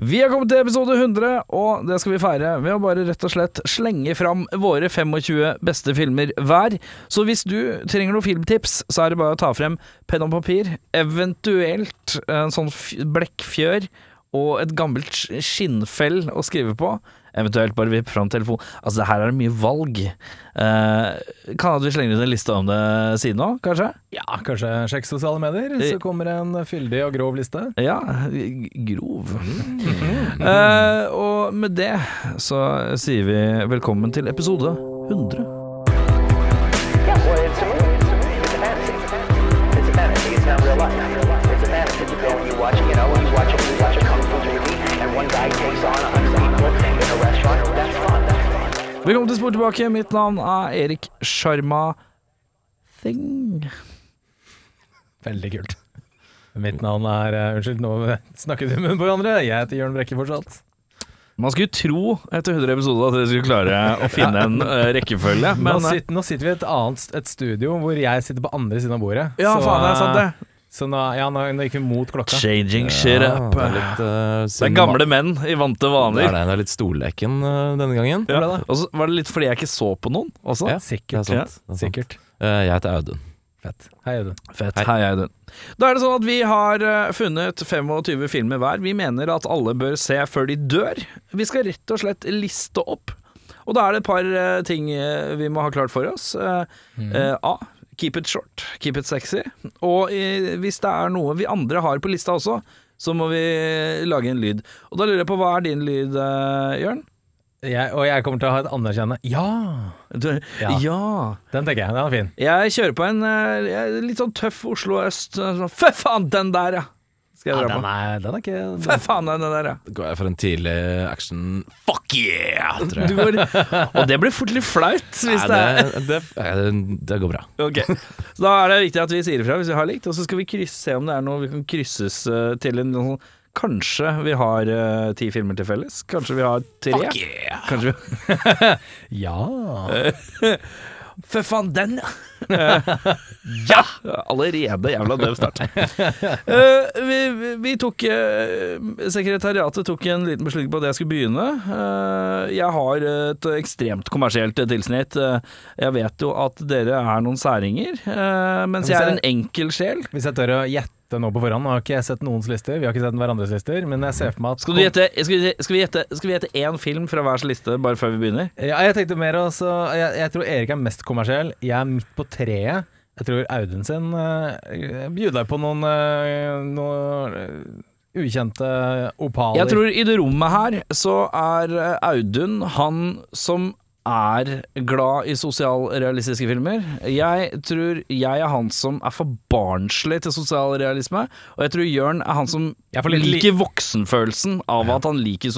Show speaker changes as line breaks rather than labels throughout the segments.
Vi er kommet til episode 100, og det skal vi feire ved å bare rett og slett slenge fram våre 25 beste filmer hver. Så hvis du trenger noen filmtips, så er det bare å ta frem penn og papir, eventuelt en sånn f- blekkfjør og et gammelt sk- skinnfell å skrive på. Eventuelt bare vipp fram telefon. Altså, her er det mye valg. Eh, kan hende vi slenger ut en liste om det siden òg, kanskje?
Ja, kanskje sjekk sosiale medier, så kommer det en fyldig og grov liste.
Ja, g- grov. Eh, og med det så sier vi velkommen til episode 100.
That's what it's a movie. It's a fantasy. It's a fantasy. It's not real life. It's a fantasy. You go and you watch, you know, you watch a, you watch a kung fu movie, and one guy takes on a hundred people in a restaurant. That's fun. That's fun.
Velkommen til Spor tilbake. Mitt navn er Erik Sjarma Thing.
Veldig kult. Mitt navn er eh, Unnskyld, nå snakker vi i munnen på hverandre. Jeg heter Jørn Brekke fortsatt.
Man skulle tro etter 100 episoder at dere skulle klare å finne en eh, rekkefølge,
Nå,
men
sit, nå sitter vi i et annet st- et studio hvor jeg sitter på andre siden av bordet.
Ja, faen, det er sant, det.
Så nå, ja, nå, nå gikk vi mot klokka.
eh, Changing shit up.
Det er litt eh,
Det er
synd-
gamle menn i vante
Det er,
vaner.
det, det er litt stolleken eh, denne gangen.
Ja. Og så var det litt fordi jeg ikke så på noen også.
Ja,
Sikkert.
Det er sant. Det er sant.
Sikkert.
Eh, jeg heter Audun.
Fett. Hei, Audun.
Fett. Hei, Audun. Da er det sånn at vi har eh, funnet 25 filmer hver. Vi mener at alle bør se før de dør. Vi skal rett og slett liste opp. Og da er det et par eh, ting eh, vi må ha klart for oss. Eh, eh, A. Keep it short. Keep it sexy. Og eh, hvis det er noe vi andre har på lista også, så må vi lage en lyd. Og da lurer jeg på hva er din lyd, eh, Jørn?
Jeg, og jeg kommer til å ha et anerkjennende ja.
Du-
Ja.
ja.
Den tenker jeg. Den er fin.
Jeg kjører på en eh, jeg- litt sånn tøff Oslo øst. Sånn, Fy faen, den der, ja! Skal jeg dra på.
den, er, den er ikke
Fy faen, den der, ja.
Da går jeg for en tidlig action Fuck yeah! Tror jeg.
Du går, og det blir fort litt flaut, hvis det
Nei,
er
det, det, eh, det går bra.
Ok, Så da er det viktig at vi sier ifra hvis vi har likt, og så skal vi krysse, se om det er noe vi kan krysses eh, til en sånn Kanskje vi har eh, ti filmer til felles? Kanskje vi har tre?
Fuck yeah!
Kanskje vi
Ja.
Fy faen, den, ja! Eh, ja! Allerede jævla døv start. Eh, vi, vi- vi tok eh, Sekretariatet tok en liten beslutning på at jeg skulle begynne. Eh, jeg har et ekstremt kommersielt tilsnitt. Eh, jeg vet jo at dere er noen særinger, eh, mens jeg er en enkel sjel.
Hvis jeg tør å gjette nå på forhånd, nå har ikke jeg sett noens lister, vi har ikke sett hverandres lister, men jeg ser for meg at
Skal, du gjette, skal, vi, skal, vi gjette, skal vi gjette én film fra hver liste, bare før vi begynner?
Ja, jeg tenkte mer også jeg, jeg tror Erik er mest kommersiell. Jeg er midt på treet. Jeg tror Audun sin uh, bjuder deg på noen, eh, noen eh, ukjente opaler.
Jeg tror i det rommet her så er eh, Audun han som er glad i sosialrealistiske filmer. Jeg tror jeg er han som er for barnslig til sosialrealisme, og jeg tror Jørn er han som
Jeg er for litt li-
liker voksenfølelsen av at han liker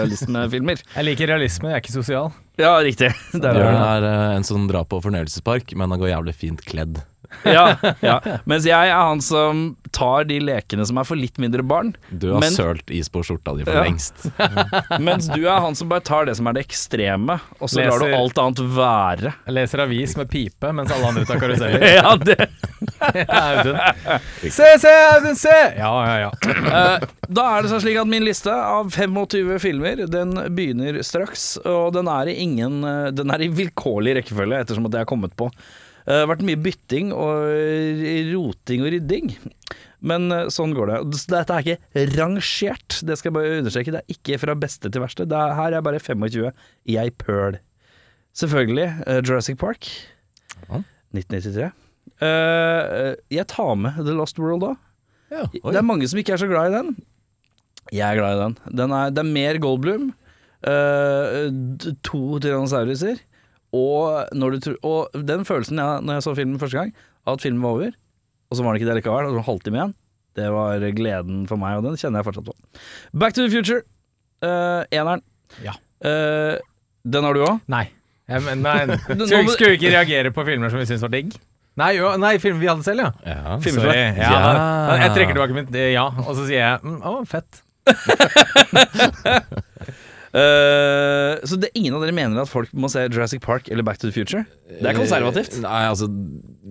sosialrealismefilmer.
Jeg liker realisme, jeg er ikke sosial.
Ja, riktig. Det er
Bjørn
Jørn.
er eh, en som drar på fornøyelsespark, men han går jævlig fint kledd.
Ja, ja. Mens jeg er han som tar de lekene som er for litt mindre barn.
Du har
men-
sølt is på skjorta di for
Ja.
lengst.
Mens du er han som bare tar det som er det ekstreme, og så lar du
Leser.
alt annet være.
Jeg leser avis med pipe mens alle andre tar karuseller.
Ja, det.
Jeg er Audun. Se, se, Audun, se! Ja, ja, ja.
Eh, Da er det sånn slik at min liste av 25 filmer, den begynner straks. Og den er i, ingen, eh, den er i vilkårlig rekkefølge, ettersom at jeg har kommet på. Eh, Det har vært mye bytting og roting og rydding. Men eh, sånn går det. Så Dette er ikke rangert, det skal jeg bare understreke. Det er ikke fra beste til verste. Det er, her er bare 25 i ei pøl. Selvfølgelig eh, Jurassic Park.
Ja.
1993. Eh, jeg tar med The Lost World òg.
Ja, oi.
Det er mange som ikke er så glad i den. Jeg er glad i den. den er, det er mer Goldblum, eh, d- to tyrannosauruser, og, når du, tro- og den følelsen jeg, når jeg så filmen første gang, at filmen var over, og så var den ikke det likevel, og så var det en halvtime igjen, det var gleden for meg, og den kjenner jeg fortsatt på. Back to the future, eh, eneren.
Ja.
Eh, den har du òg?
Nei. Jeg, men, nei.
nå
Skulle
må-
skulle vi ikke reagere på filmer som vi syns var digg? Nei, jo, nei, filmer vi hadde selv, ja.
Ja.
Filmer
Sorry.
for
Ja,
Ja.
da- Jeg trekker tilbake mitt eh, ja, og så sier jeg mm, å, fett.
Eh, så det, ingen av dere mener at folk må se Jurassic Park eller Back to the Future? Det er konservativt.
Eh, Nei, altså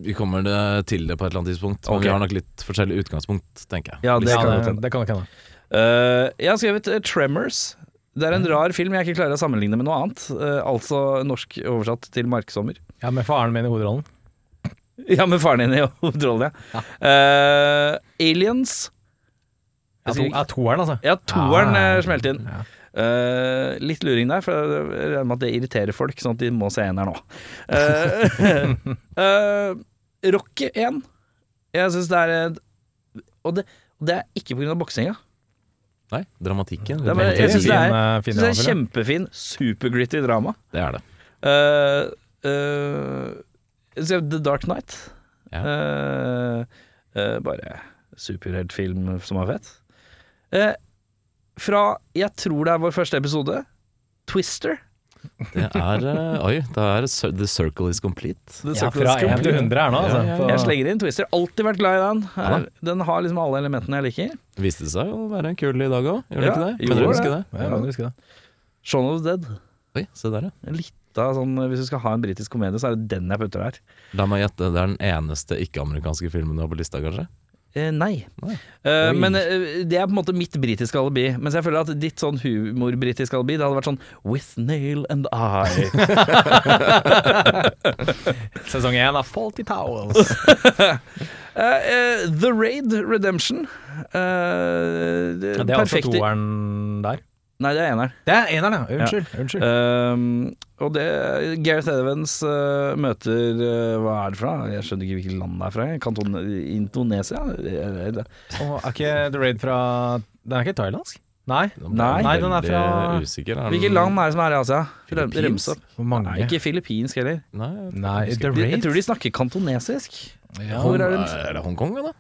Vi kommer det til det på et eller annet tidspunkt. Men
Ok.
vi har nok litt forskjellig utgangspunkt, tenker jeg.
Ja, det
Ja,
kan godt
det,
hende.
det kan nok hende.
Eh, Eh, jeg har skrevet eh, 'Tremors'. Det er
Mhm.
en rar film jeg ikke klarer å sammenligne med noe annet. Eh, altså norsk oversatt til 'Marksommer'.
Ja, med faren min i hovedrollen.
Ja, med faren din i hovedrollen, ja. Eh, 'Aliens'.
Ja, to, ja, toeren, altså.
Ja, toeren
Ja.
eh, smelt inn.
Ja.
Eh, litt luring der, for jeg regner med at det irriterer folk, sånn at de må se en her nå. Eh, eh, Rocky 1. Jeg syns det er et- Og det, og det er ikke pga. boksinga.
Nei, dramatikken.
Det er bare- jeg synes det er-
Fin, eh,
Jeg
fin
synes Det er
drama,
kjempefin, supergritty drama.
Det er det.
Eh, eh, så The Dark Knight.
Ja.
Eh, eh, bare superheltfilm som er fett. Eh, fra jeg tror det er vår første episode, Twister.
Det er eh, Oi, det er Cir- The Circle Is Complete.
The
Ja,
Circle
fra
is
1 til
Complete.
100 er nå, altså.
Ja, ja, ja.
På-
Jeg slenger inn Twister. Alltid vært glad i den.
Ja
Er, den har liksom alle elementene jeg liker.
Viste seg å være en kul i dag òg, gjorde det
Ja,
ikke det?
gjorde
Mener du husker
det.
det?
Ja, men du husker det.
Shaun of the Dead.
Oi, se der, ja.
En lita sånn, hvis du skal ha en britisk komedie, så er det den jeg putter der.
La meg gjette, det er den eneste ikke-amerikanske filmen du har på lista, kanskje?
Eh, nei.
Nei.
Eh,
Oi.
men eh, det er på en måte mitt britiske alibi. Mens jeg føler at ditt sånn humor-britiske alibi, det hadde vært sånn With nail and eye.
Sesong 1 av Faulty Towels.
Eh, eh, The Raid Redemption. Eh, det,
Ja, det er også
perfekte-
toeren der.
Nei, det er eneren.
Det er eneren, ja. Unnskyld. unnskyld.
Um, og det Gareth Evans eh, møter eh, Hva er det fra? Jeg skjønner ikke hvilket land det er fra. Kanton Indonesia? Eh, det-
Og er ikke The Raid fra Den er ikke thailandsk? Nei.
Nei.
Nei, den er
Veldig
fra-
usikker. Er den-
Ah.
Hvilket land er det som er i Asia? Røm-
Filippinsk?
Remse opp.
Hvor mange?
Nei, ikke filippinsk heller.
Nei, jeg
Nei,
husker
The
ikke.
De, jeg
Raid?
tror de snakker kantonesisk.
Ja.
Hvor er
er,
den?
det Hongkong, da?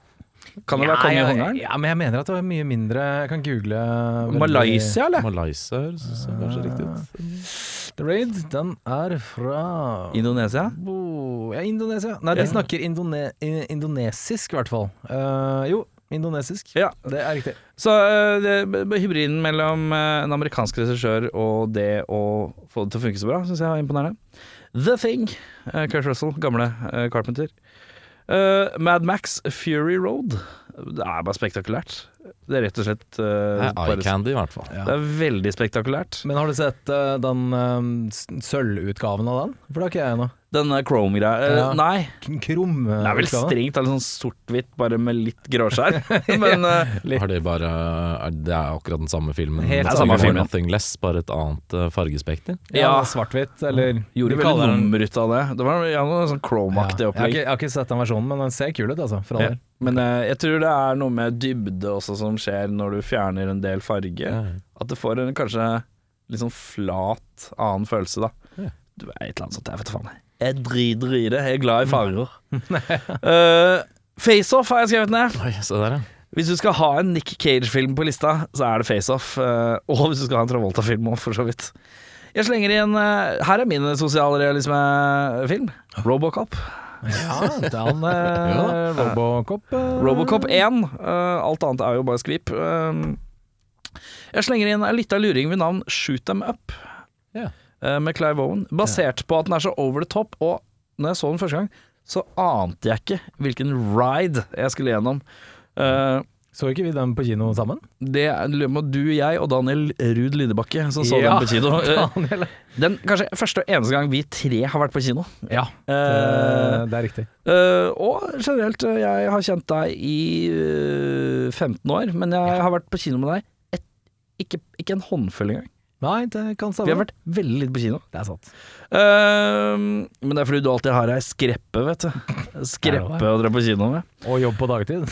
Kan det være konge i
Ja,
Ungarn?
Ja, men jeg mener at det var mye mindre Jeg kan google eh, veldig-
Malaysia, eller?
Malaysia høres kanskje riktig ut.
The Raid, den er fra
Indonesia?
Bo- ja, Indonesia. Nei, de snakker indone i- indonesisk, i hvert fall. Eh, jo, indonesisk.
Ja.
Det er riktig.
Så eh, det, b- b- hybriden mellom eh, en amerikansk regissør og det å få det til å funke så bra, syns jeg er imponerende. The Thing, uh, Kurt Russell, gamle eh, Carpenter. Eh, Mad Max, Fury Road. Det er bare spektakulært. Det er rett og slett eh,
Det er
bare,
Eye Candy, i hvert fall.
Det er veldig spektakulært.
Men har du sett eh, den eh, s- sølvutgaven av den? For det har ikke jeg ennå.
Denne Chrome-greia eh,
Ja.
Nei,
K-
det er vel
Krumutgaven.
strengt tatt sånn sort-hvitt, bare med litt gråskjær. Men eh,
Har det bare er Det er akkurat den samme filmen.
Helt
Nothing
samme
More,
filmen.
Nothing Less, bare et annet eh, fargespekter.
Ja. Mm.
Ja, svart-hvitt, eller
gjorde
Vi
vel
kaller
et
den-
nummer ut av det. Det var ja, noe sånn Chrome-aktig
Ja. Jeg, har
opplegg.
ikke, jeg har ikke sett den versjonen, men den ser kul ut, altså. For all
Ja.
del.
Men eh, jeg tror det er noe med dybde også som skjer når du fjerner en del farge. At du får en kanskje litt sånn flat annen følelse, da.
Ja.
Du er et eller annet sånt, jeg vet da faen. jeg. Jeg driter i det, jeg er glad i farger. Eh, Face Off har jeg skrevet ned.
Oi, se der, ja.
Hvis du skal ha en Nick Cage-film på lista, så er det Face Off. eh, og hvis du skal ha en Travolta-film òg, for så vidt. Jeg slenger inn eh, Her er min sosialrealisme-film. Robocop.
Ja, den eh, Robocop eh,
Robocop 1. eh, alt annet er jo bare skvip. Eh, jeg slenger inn en lita luring ved navn Shoot Them Up
Ja.
eh, med Clive Owen. Basert på at den er så over the top, og når jeg så den første gang, så ante jeg ikke hvilken ride jeg skulle gjennom. Eh,
Så ikke vi den på kino sammen?
det er- lurer på om du, jeg og Daniel Ruud Lydebakke som så
Ja,
den på kino. Eh,
Daniel.
den kanskje første og eneste gang vi tre har vært på kino.
Ja,
Eh,
det, det er riktig.
Eh, og generelt, eh, jeg har kjent deg i eh, 15 år, men jeg har vært på kino med deg et, ikke, ikke en håndfull engang.
Nei, det kan
Vi har
stemme.
vært veldig lite på kino.
Det er sant.
Eh, men det er fordi du alltid har ei skreppe, vet du.
Er det
Skreppe å dra på kino med.
Og jobb på dagtid.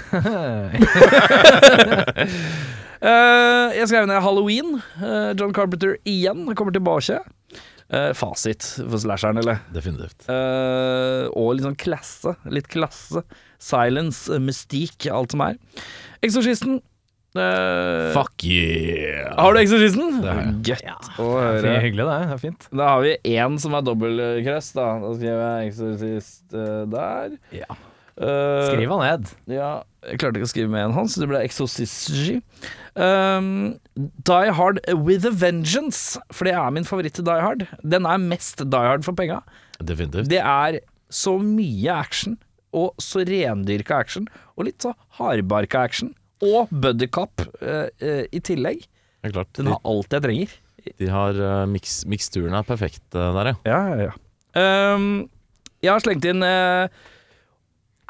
Eh, jeg skrev ned Halloween. Eh, John Carpenter igjen kommer tilbake. Eh, fasit for slasheren, eller?
Definitivt.
Eh, og litt sånn klasse. Litt klasse. Silence, eh, mystikk, alt som er. Eksorsisten. eh,
Fuck yeah!
har du Eksorsisten?
Det har jeg.
Gøtt å
Det er
høre.
hyggelig, det. Det er fint.
Da har vi én som er dobbeltkrøss, da. Da skriver jeg Eksorsist eh, der.
Ja.
Eh,
Skriv han ned.
Ja, jeg klarte ikke å skrive med en hans, det ble Exorcisty. Um, Die Hard with a Vengeance, for det er min favoritt til Die Hard. Den er mest Die Hard for penga.
Definitivt.
Det er så mye action, og så rendyrka action, og litt så hardbarka action. og Buddycop eh, eh, i tillegg.
Det er klart.
Den har alt jeg trenger.
De, de har eh, miks, Miksturen er perfekt eh, der, ja.
Ja, ja, ja. Ehm, jeg har slengt inn eh,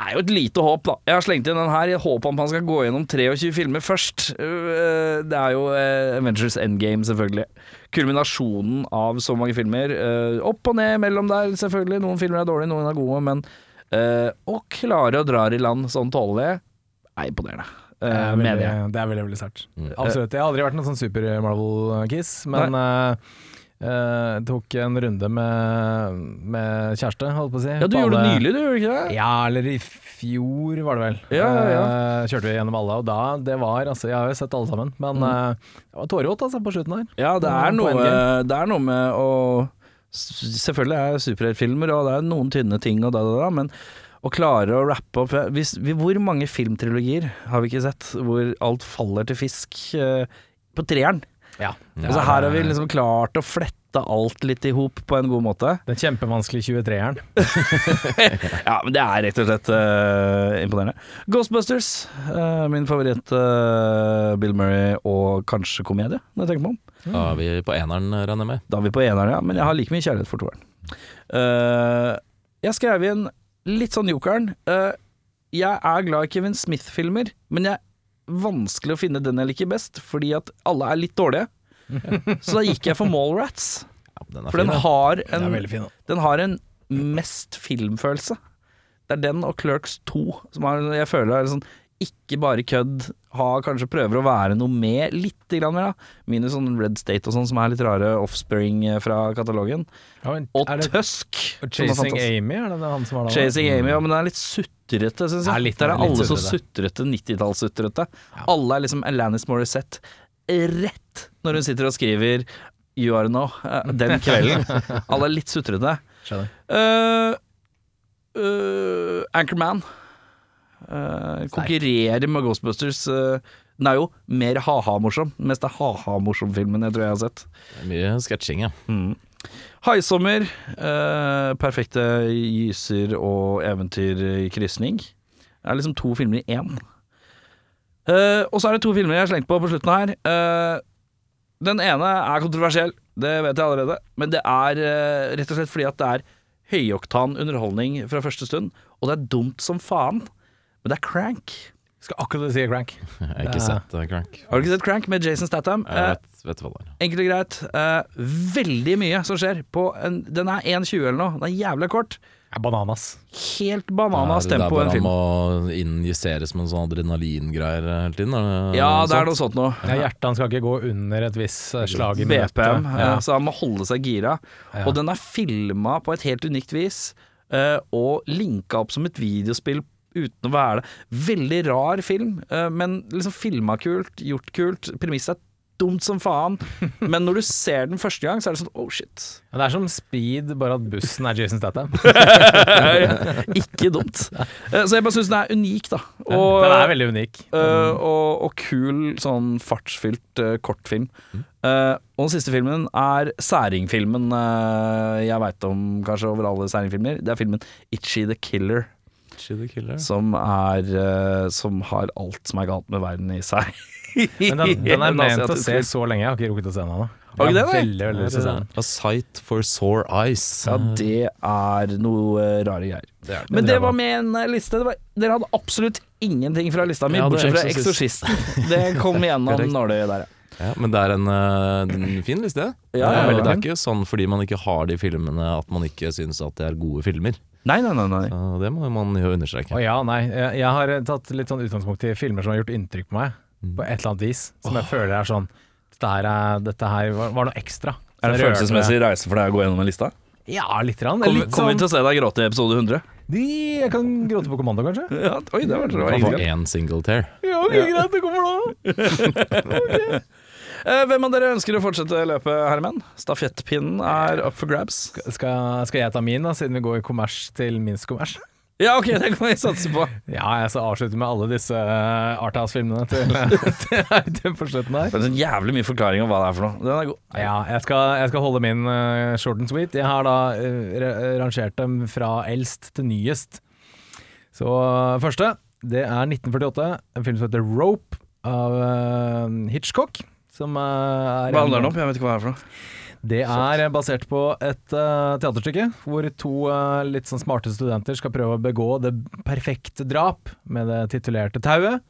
er jo et lite håp, da. Jeg har slengt inn den her i et håp om at man skal gå gjennom 23 filmer først. Eh, det er jo eh, Avengers Endgame, selvfølgelig. Kulminasjonen av så mange filmer. Eh, opp og ned mellom der, selvfølgelig. Noen filmer er dårlige, noen er gode, men eh, å klare å dra i land sånn tålelig er imponerende. Eh,
Det er
mener jeg.
veldig, det er veldig, veldig sterkt.
Mm.
Absolutt. Jeg har aldri vært noen sånn super Marvel-kiss, men eh, eh, tok en runde med, med kjæreste, holdt på å si.
Ja, du
på
gjorde det
alle-
nylig, du, gjorde du ikke det?
Ja, eller i fjor var det vel.
Ja, ja, ja.
Eh, kjørte vi gjennom alle, og da Det var altså Jeg har jo sett alle sammen, men
Mm.
eh, det var tårevått altså, på slutten der.
Ja, det er,
På
noe,
Endgame.
det er noe med å s- Selvfølgelig er det superheltfilmer, og det er noen tynne ting, og da, da, da, men å klare å rappe opp hvis, vi, Hvor mange filmtrilogier har vi ikke sett hvor alt faller til fisk eh, på treeren?
Ja.
Altså, her har vi liksom klart å flette alt litt i hop på en god måte.
Den kjempevanskelige 23-eren.
Ja, men det er rett og slett eh, imponerende. Ghostbusters, eh, min favoritt eh, Bill Murray og kanskje komedie, når jeg tenker meg om.
Da er vi på eneren, eh, regner jeg med.
Da er vi på eneren, ja. Men jeg har like mye kjærlighet for toeren. Eh, jeg skrev inn litt sånn jokeren. Eh, jeg er glad i Kevin Smith-filmer, men jeg er vanskelig å finne den jeg liker best, fordi at alle er litt dårlige. Så da gikk jeg for Mallrats,
Ja, den er
for den
fin,
har
Den er
en,
veldig fin. da.
den har en mest filmfølelse. Det er den og Clerks 2 som har, jeg føler er sånn ikke bare kødd, ha, kanskje prøver å være noe med litt grann mer, da. Minus sånn Red State og sånn, som er litt rare offspring eh, fra katalogen.
Ja, men
Og
er det
Tusk! som er
Chasing
fantastisk.
Amy, er det det han som var der?
Chasing Amy, ja, men den er litt sutrete, syns jeg.
Er litt-
Der er
litt
alle så sutrete, 90-tallssutrete. Alle er liksom Alanis Morissette rett når hun sitter og skriver You are now, eh, den kvelden. Alle er litt sutrete.
Skjønner.
Eh, eh, Anchorman eh, konkurrerer med Ghostbusters. eh, den er jo mer ha-ha-morsom. Den mest ha-ha-morsom-filmen jeg tror jeg har sett.
da. Mye sketsjing, ja.
Haisommer. eh, perfekte gyser og eventyrkrysning. Det er liksom to filmer i én. Eh, og så er det to filmer jeg har slengt på på slutten her. Eh, den ene er kontroversiell, det vet jeg allerede. Men det er eh, rett og slett fordi at det er høyoktan underholdning fra første stund. Og det er dumt som faen. Men det er Crank.
Skal akkurat si Crank.
Jeg har
Ja.
ikke sett eh, Crank.
Har du ikke sett Crank med Jason Statham?
Jeg
Eh,
vet, vet hva det er.
Enkelt og greit. Eh, veldig mye som skjer. På en, den er 1,20 eller noe. Den er jævla kort.
Ja, bananas.
Helt bananas tempo i en film.
han må injiseres med sånn adrenalingreier hele tiden? Er det,
Ja, det er noe sånt noe.
Ja, hjertet han skal ikke gå under et visst eh, slag i minuttet.
BPM. eh,
Ja.
Så han må holde seg gira.
Ja.
Og den er filma på et helt unikt vis, eh, og linka opp som et videospill uten å være det. Veldig rar film, eh, men liksom filma kult, gjort kult. Premisset er dumt som faen, men når du ser den første gang, så er det sånn oh shit.
Men Det er som speed, bare at bussen er Jason Statham.
Ikke dumt. Eh, Så jeg bare syns den er unik, da. Og,
Den er veldig unik.
eh,
Mm.
og, og kul, sånn fartsfylt eh, kortfilm.
Mm.
Eh, og den siste filmen er særingfilmen eh, jeg veit om kanskje over alle særingfilmer. Det er filmen Itchy the Killer, som, er, eh, som har alt som er galt med verden i seg.
Men den, den er
En
ment å
asiatisk
se
film.
så lenge, jeg har ikke rukket å se den ennå.
Har du
Jeg
ikke det, nei?
Veldig, veldig lyst til å se den.
A sight for sore eyes.
Ja, det er noe eh, rare greier.
Det er det.
Men det var med en eh, liste. Det var, dere hadde absolutt ingenting fra lista mi,
Ja, det er
bortsett fra
Exorcist.
Exorcisten. Det kom igjennom
Korrekt.
nåløyet der, ja.
Ja, men det er en, eh, en fin liste.
Ja, ja,
Eh,
veldig
det er ikke sånn fordi man ikke har de filmene at man ikke syns at det er gode filmer.
Nei, nei, nei. nei.
Eh, Det må man jo understreke.
Å ja, nei. Jeg, jeg har tatt litt sånn utgangspunkt i filmer som har gjort inntrykk på meg, på et eller annet vis. Som jeg føler er sånn Dette her, er, dette her var, var noe ekstra.
Er det en
Som rørte meg.
følelsesmessig reise for deg å gå gjennom en lista?
Ja, litt. Rann.
Kommer
litt
kommer vi
sånn,
til å se deg gråte i episode 100?
de, jeg kan gråte på kommando, kanskje?
Ja, oi, det var det.
Man får én single tear.
Ja, ok, greit, det kommer nå.
Eh, Hvem av dere ønsker å fortsette løpet, herremenn? Stafettpinnen er up for grabs.
Skal, skal jeg ta min, da, siden vi går i kommers til minst kommers?
Ja, ok, det kan vi satse på.
Ja, jeg skal avslutte med alle disse uh, Arthouse-filmene til, til, til på slutten her.
Det er så jævlig mye forklaring om hva det er for noe. Den er god.
Ja, jeg skal, jeg skal holde min eh, short and sweet. Jeg har da eh, ra- rangert dem fra eldst til nyest. Så eh, første, det er 1948, en film som heter Rope, av eh, Hitchcock. Som eh, er
Hva handler den om? Jeg vet ikke hva det er for noe.
Det er basert på et eh, teaterstykke hvor to eh, litt sånn smarte studenter skal prøve å begå det perfekte drap med det titulerte tauet.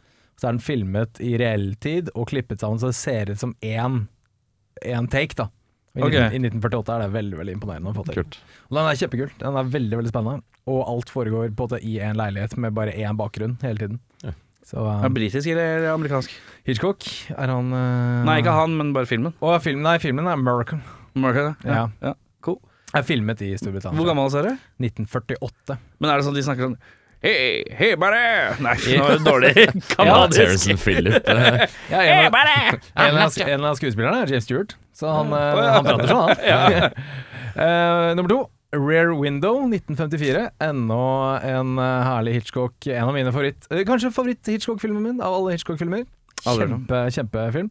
Så er den filmet i reell tid og klippet sammen så det ser ut som én, én take, da. I,
Ok.
19, I 1948 er det veldig veldig imponerende å få til.
Kult.
Og den er kjempekul. Den er veldig veldig spennende. Og alt foregår på en måte i en leilighet med bare én bakgrunn hele tiden.
Ja.
Så eh,
Er det britisk eller amerikansk?
Hitchcock er han eh,
Nei, ikke han, men bare filmen.
Å, filmen, nei, filmen er American.
America,
Ja.
ja. Cool.
Er filmet i Storbritannia.
Hvor gammel er dere?
1948.
Men er det sånn de snakker sånn Hei, hei, bare Nei, nå var det dårlig kanadisk.
Terence Phillip. eh,
Ja,
Hei,
en, av,
bare! Mm.
en, av, en av skuespillerne er James Stewart, så han, eh,
Å, ja.
han prater sånn, han. Eh, nummer to. Rare Window 1954. Ennå en eh, herlig Hitchcock. En av mine favoritt... eh, kanskje favoritt-Hitchcock-filmen min av alle Hitchcock-filmer.
Aldri hørt om.
Kjempe, kjempefilm.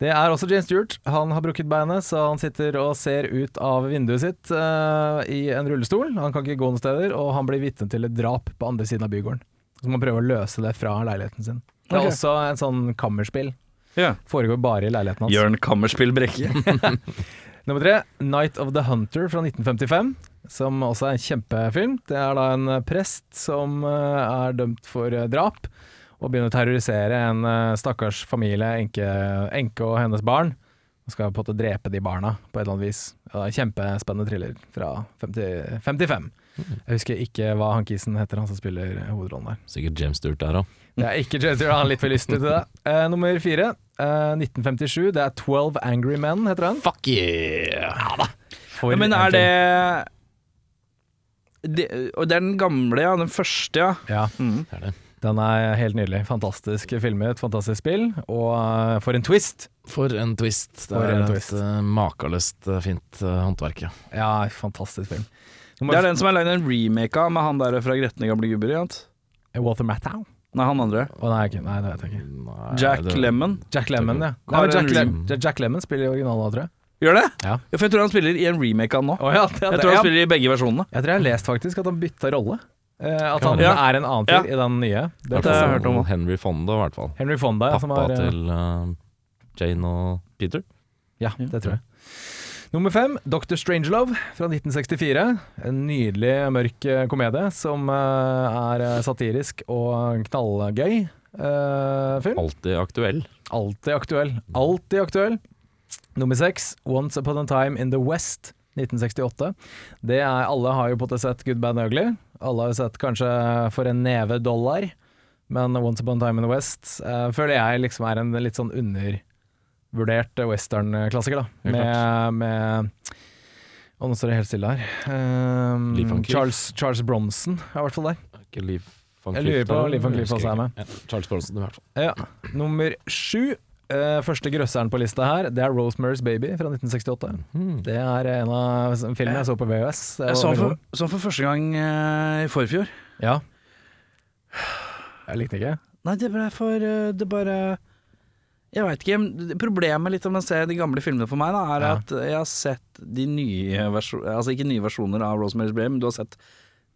Det er også James Stewart. Han har brukket beinet, så han sitter og ser ut av vinduet sitt eh, i en rullestol. Han kan ikke gå noen steder, og han blir vitne til et drap på andre siden av bygården. Så må han prøve å løse det fra leiligheten sin. Det er
Ok.
også en sånn kammerspill.
Ja.
Foregår bare i leiligheten hans.
Jørn Kammerspill Brekke.
Nummer tre, 'Night of the Hunter' fra 1955, som også er en kjempefilm. Det er da en eh, prest som eh, er dømt for eh, drap, og begynner å terrorisere en eh, stakkars familie, enke, enke og hennes barn. Og skal på en måte drepe de barna på et eller annet vis. Ja, det er en Kjempespennende thriller fra 50, 55. Jeg husker ikke hva han kisen heter, han som spiller hovedrollen der.
Sikkert James Stewart der òg.
Det er ikke Jay Stewart, han er litt for lystig til det. Eh, nummer fire, eh, 1957. Det er 'Twelve Angry Men', heter den.
Fuck yeah! Ja da.
For
Men
en
er
film.
det det, og det er den gamle, ja. Den første, ja.
Ja,
Det er det.
den er helt nydelig. Fantastisk filmet, fantastisk spill, og eh, for en twist!
For en twist. Det
For
er
en
et
twist.
eh, makeløst eh, fint eh, håndverk, ja.
Ja, fantastisk film.
Det er den som er lagd en remake av med han der fra Gretne gamle gubber. Ja.
Walter Matthau?
Nei, han andre.
Å nei, ikke- nei, det vet jeg ikke.
Nei,
Jack
det-
Lemmon.
Jack Lemmon, ja. Nei,
Har
men Jack,
en
Lem Jack Lemmon spiller i originalen da, tror jeg.
Gjør det?
Ja.
For jeg tror han spiller i en remake av den nå.
Å ja, det,
Jeg
det,
tror han
ja.
spiller i begge versjonene.
jeg tror jeg har lest faktisk at han bytta rolle. Eh, at han
Ja.
er en annen fyr i den nye. Det
Dette har jeg hørt om, ja.
Henry Fonda, i hvert fall.
Henry Fonda, ja, som
Pappa
er eh,
til eh, Jane og Peter.
Ja, det tror jeg. Nummer fem, Dr. Strangelove fra 1964. En nydelig, mørk eh, komedie som eh, er eh, satirisk og knallgøy eh, film.
Alltid aktuell.
Alltid aktuell. Alltid aktuell. Nummer seks, Once Upon a Time in the West, 1968. Det er, alle har jo på en måte sett Good Bad and Ugly. Alle har jo sett kanskje For en neve dollar, men Once Upon a Time in the West eh, føler jeg liksom er en litt sånn undervurdert western-klassiker, da.
Helt klart.
Med, med Å, nå står det helt stille her. Ehm,
Lee Van Cleef.
Charles, Charles Bronson er i hvert fall der.
Ikke Liv van
Jeg
Cleef
lurer på
der,
om Liv van
eller?
Cleef også
Husker
er
ikke.
med.
Ja, Charles Bronson, i hvert fall.
Ja. Nummer sju. eh, første grøsseren på lista her, det er Rosemary's Baby fra 1968. Det er en av filmene Mhm. jeg så på VHS. Det var
Jeg så han
veldig
for,
god.
så han for første gang eh, i forfjor.
Ja. Jeg likte ikke.
Nei, det ble for eh, Det bare Jeg veit ikke. men Problemet litt om å se de gamle filmene for meg, da, er
Ja.
at jeg har sett de nye versjonene Altså ikke nye versjoner av Rosemary's Baby, men du har sett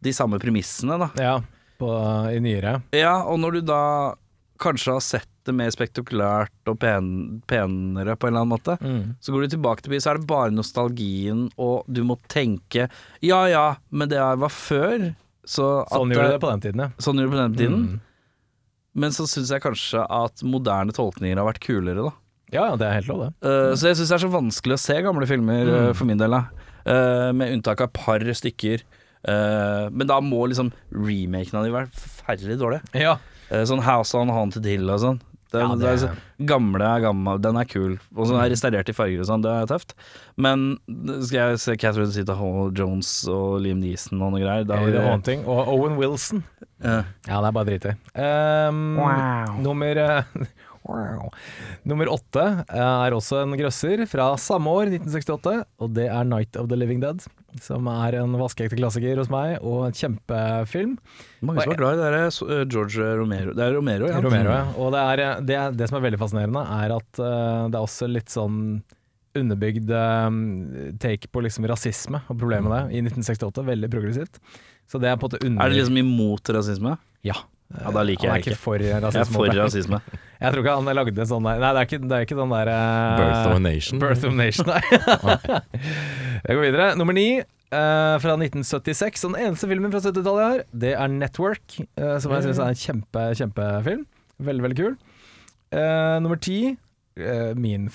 de samme premissene, da.
Ja, på, i nyere.
Ja, og når du da kanskje har sett det mer spektakulært og pen, penere på en eller annen måte,
Mm.
så går du tilbake til by, så er det bare nostalgien, og du må tenke Ja ja, men det her var før. Så at
Sånn gjorde de det på den tiden, ja.
Sånn gjorde det på den
Mm.
tiden. Men så syns jeg kanskje at moderne tolkninger har vært kulere, da.
Ja, ja, det er helt lov, det.
Eh, Så jeg syns det er så vanskelig å se gamle filmer,
Mm.
eh, for min del, da. Eh, Med unntak av et par stykker. Eh, Men da må liksom remaken av de være forferdelig dårlige.
Ja.
Eh, Sånn House on Haunted Hill og sånn. Det,
Ja,
det er
det-
så, gamle er gammel, den er kul. Og sånn er restaurert i farger og sånn, det er tøft. Men eh, skal jeg se Catherine Zita Hall Jones og Liam Neeson og noe greier, da
Det
blir
er
det
Haunting. Og Owen Wilson.
Ja.
Ja, det er bare drit i. Ehm, Nummer eh, wow. Nummer åtte eh, er også en grøsser fra samme år, 1968, og det er 'Night of the Living Dead'. Som er en vaskeekte klassiker hos meg, og en kjempefilm.
Mange som er glad i det der, eh, George Romero. Det er Romero, ja.
Romero, ja. Og det, er, eh, det, er- det som er veldig fascinerende, er at eh, det er også litt sånn underbygd eh, take på liksom rasisme og problemet med det i 1968. Veldig progressivt. Så det er på en måte under...
Er det liksom imot liksom rasisme?
Ja.
Ja, da liker
han er
jeg
ikke
ikke.
for rasisme.
Jeg er for rasisme.
Jeg tror ikke han lagde sånn der Nei, det er ikke, det er ikke den der eh,
Birth of a Nation.
Birth of a Nation, nei. Jeg går videre. Nummer ni. eh, fra 1976. Og den eneste filmen fra 70-tallet jeg har, det er 'Network', eh, som jeg syns er en kjempe, kjempefilm. Veldig, veldig kul. Eh, nummer ti, eh, min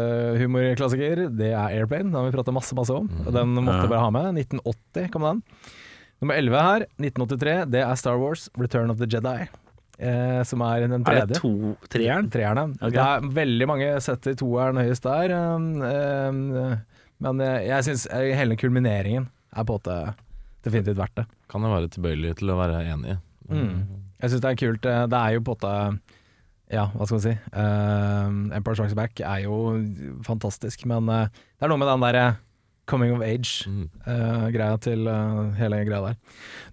favoritthumorklassiker, det er 'Airplane'. Den har vi prata masse, masse om. Og den måtte
Ja.
jeg bare ha med. 1980 kom den. Nummer 11 her, 1983, det er Star Wars 'Return of the Jedi'. eh, som er den tredje.
Er det to treeren?
Treerne.
Ok.
Det er veldig mange setter toeren høyest der. Um, um, men jeg, jeg syns eh, hele kulmineringen er på en måte definitivt verdt det.
Kan jeg være tilbøyelig til å være Mm. enig i.
Mm. Jeg syns det er kult. eh, Det er jo på en måte Ja, hva skal man si. Um, Empire Strikes Back er jo fantastisk, men eh, det er noe med den derre coming of age.
Mm.
eh, greia til eh, hele greia der.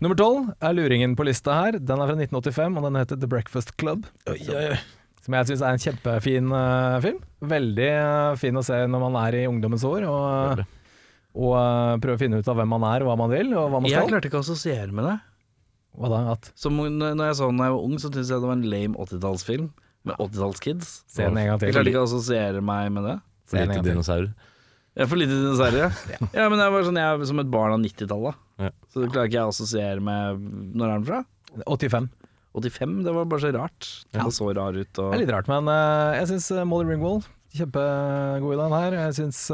Nummer tolv er luringen på lista her. Den er fra 1985, og den heter The Breakfast Club. Som jeg syns er en kjempefin eh, film. Veldig eh, fin å se når man er i ungdommens år, og,
Veldig.
og eh, prøve å finne ut av hvem man er, hva man vil, og hva man
Jeg
skal.
klarte ikke å assosiere med det.
Hva da? At
Som når når jeg så den da jeg var ung, så syntes jeg det var en lame 80-tallsfilm med 80-tallskids.
se den en gang
Jeg klarte
til.
ikke å assosiere meg med det.
For lite dinosaurer.
Jeg er for lite dinosaur, ja. ja. Men jeg var sånn, jeg er som et barn av 90-tallet.
Ja.
Så det klarer ikke jeg å assosiere med Når er den fra?
85.
85? Det var bare så rart. Den
Ja.
var så rar ut.
Det er
Og...
litt rart, men eh, jeg syns Molly Ringwald Kjempegod i den her. Jeg syns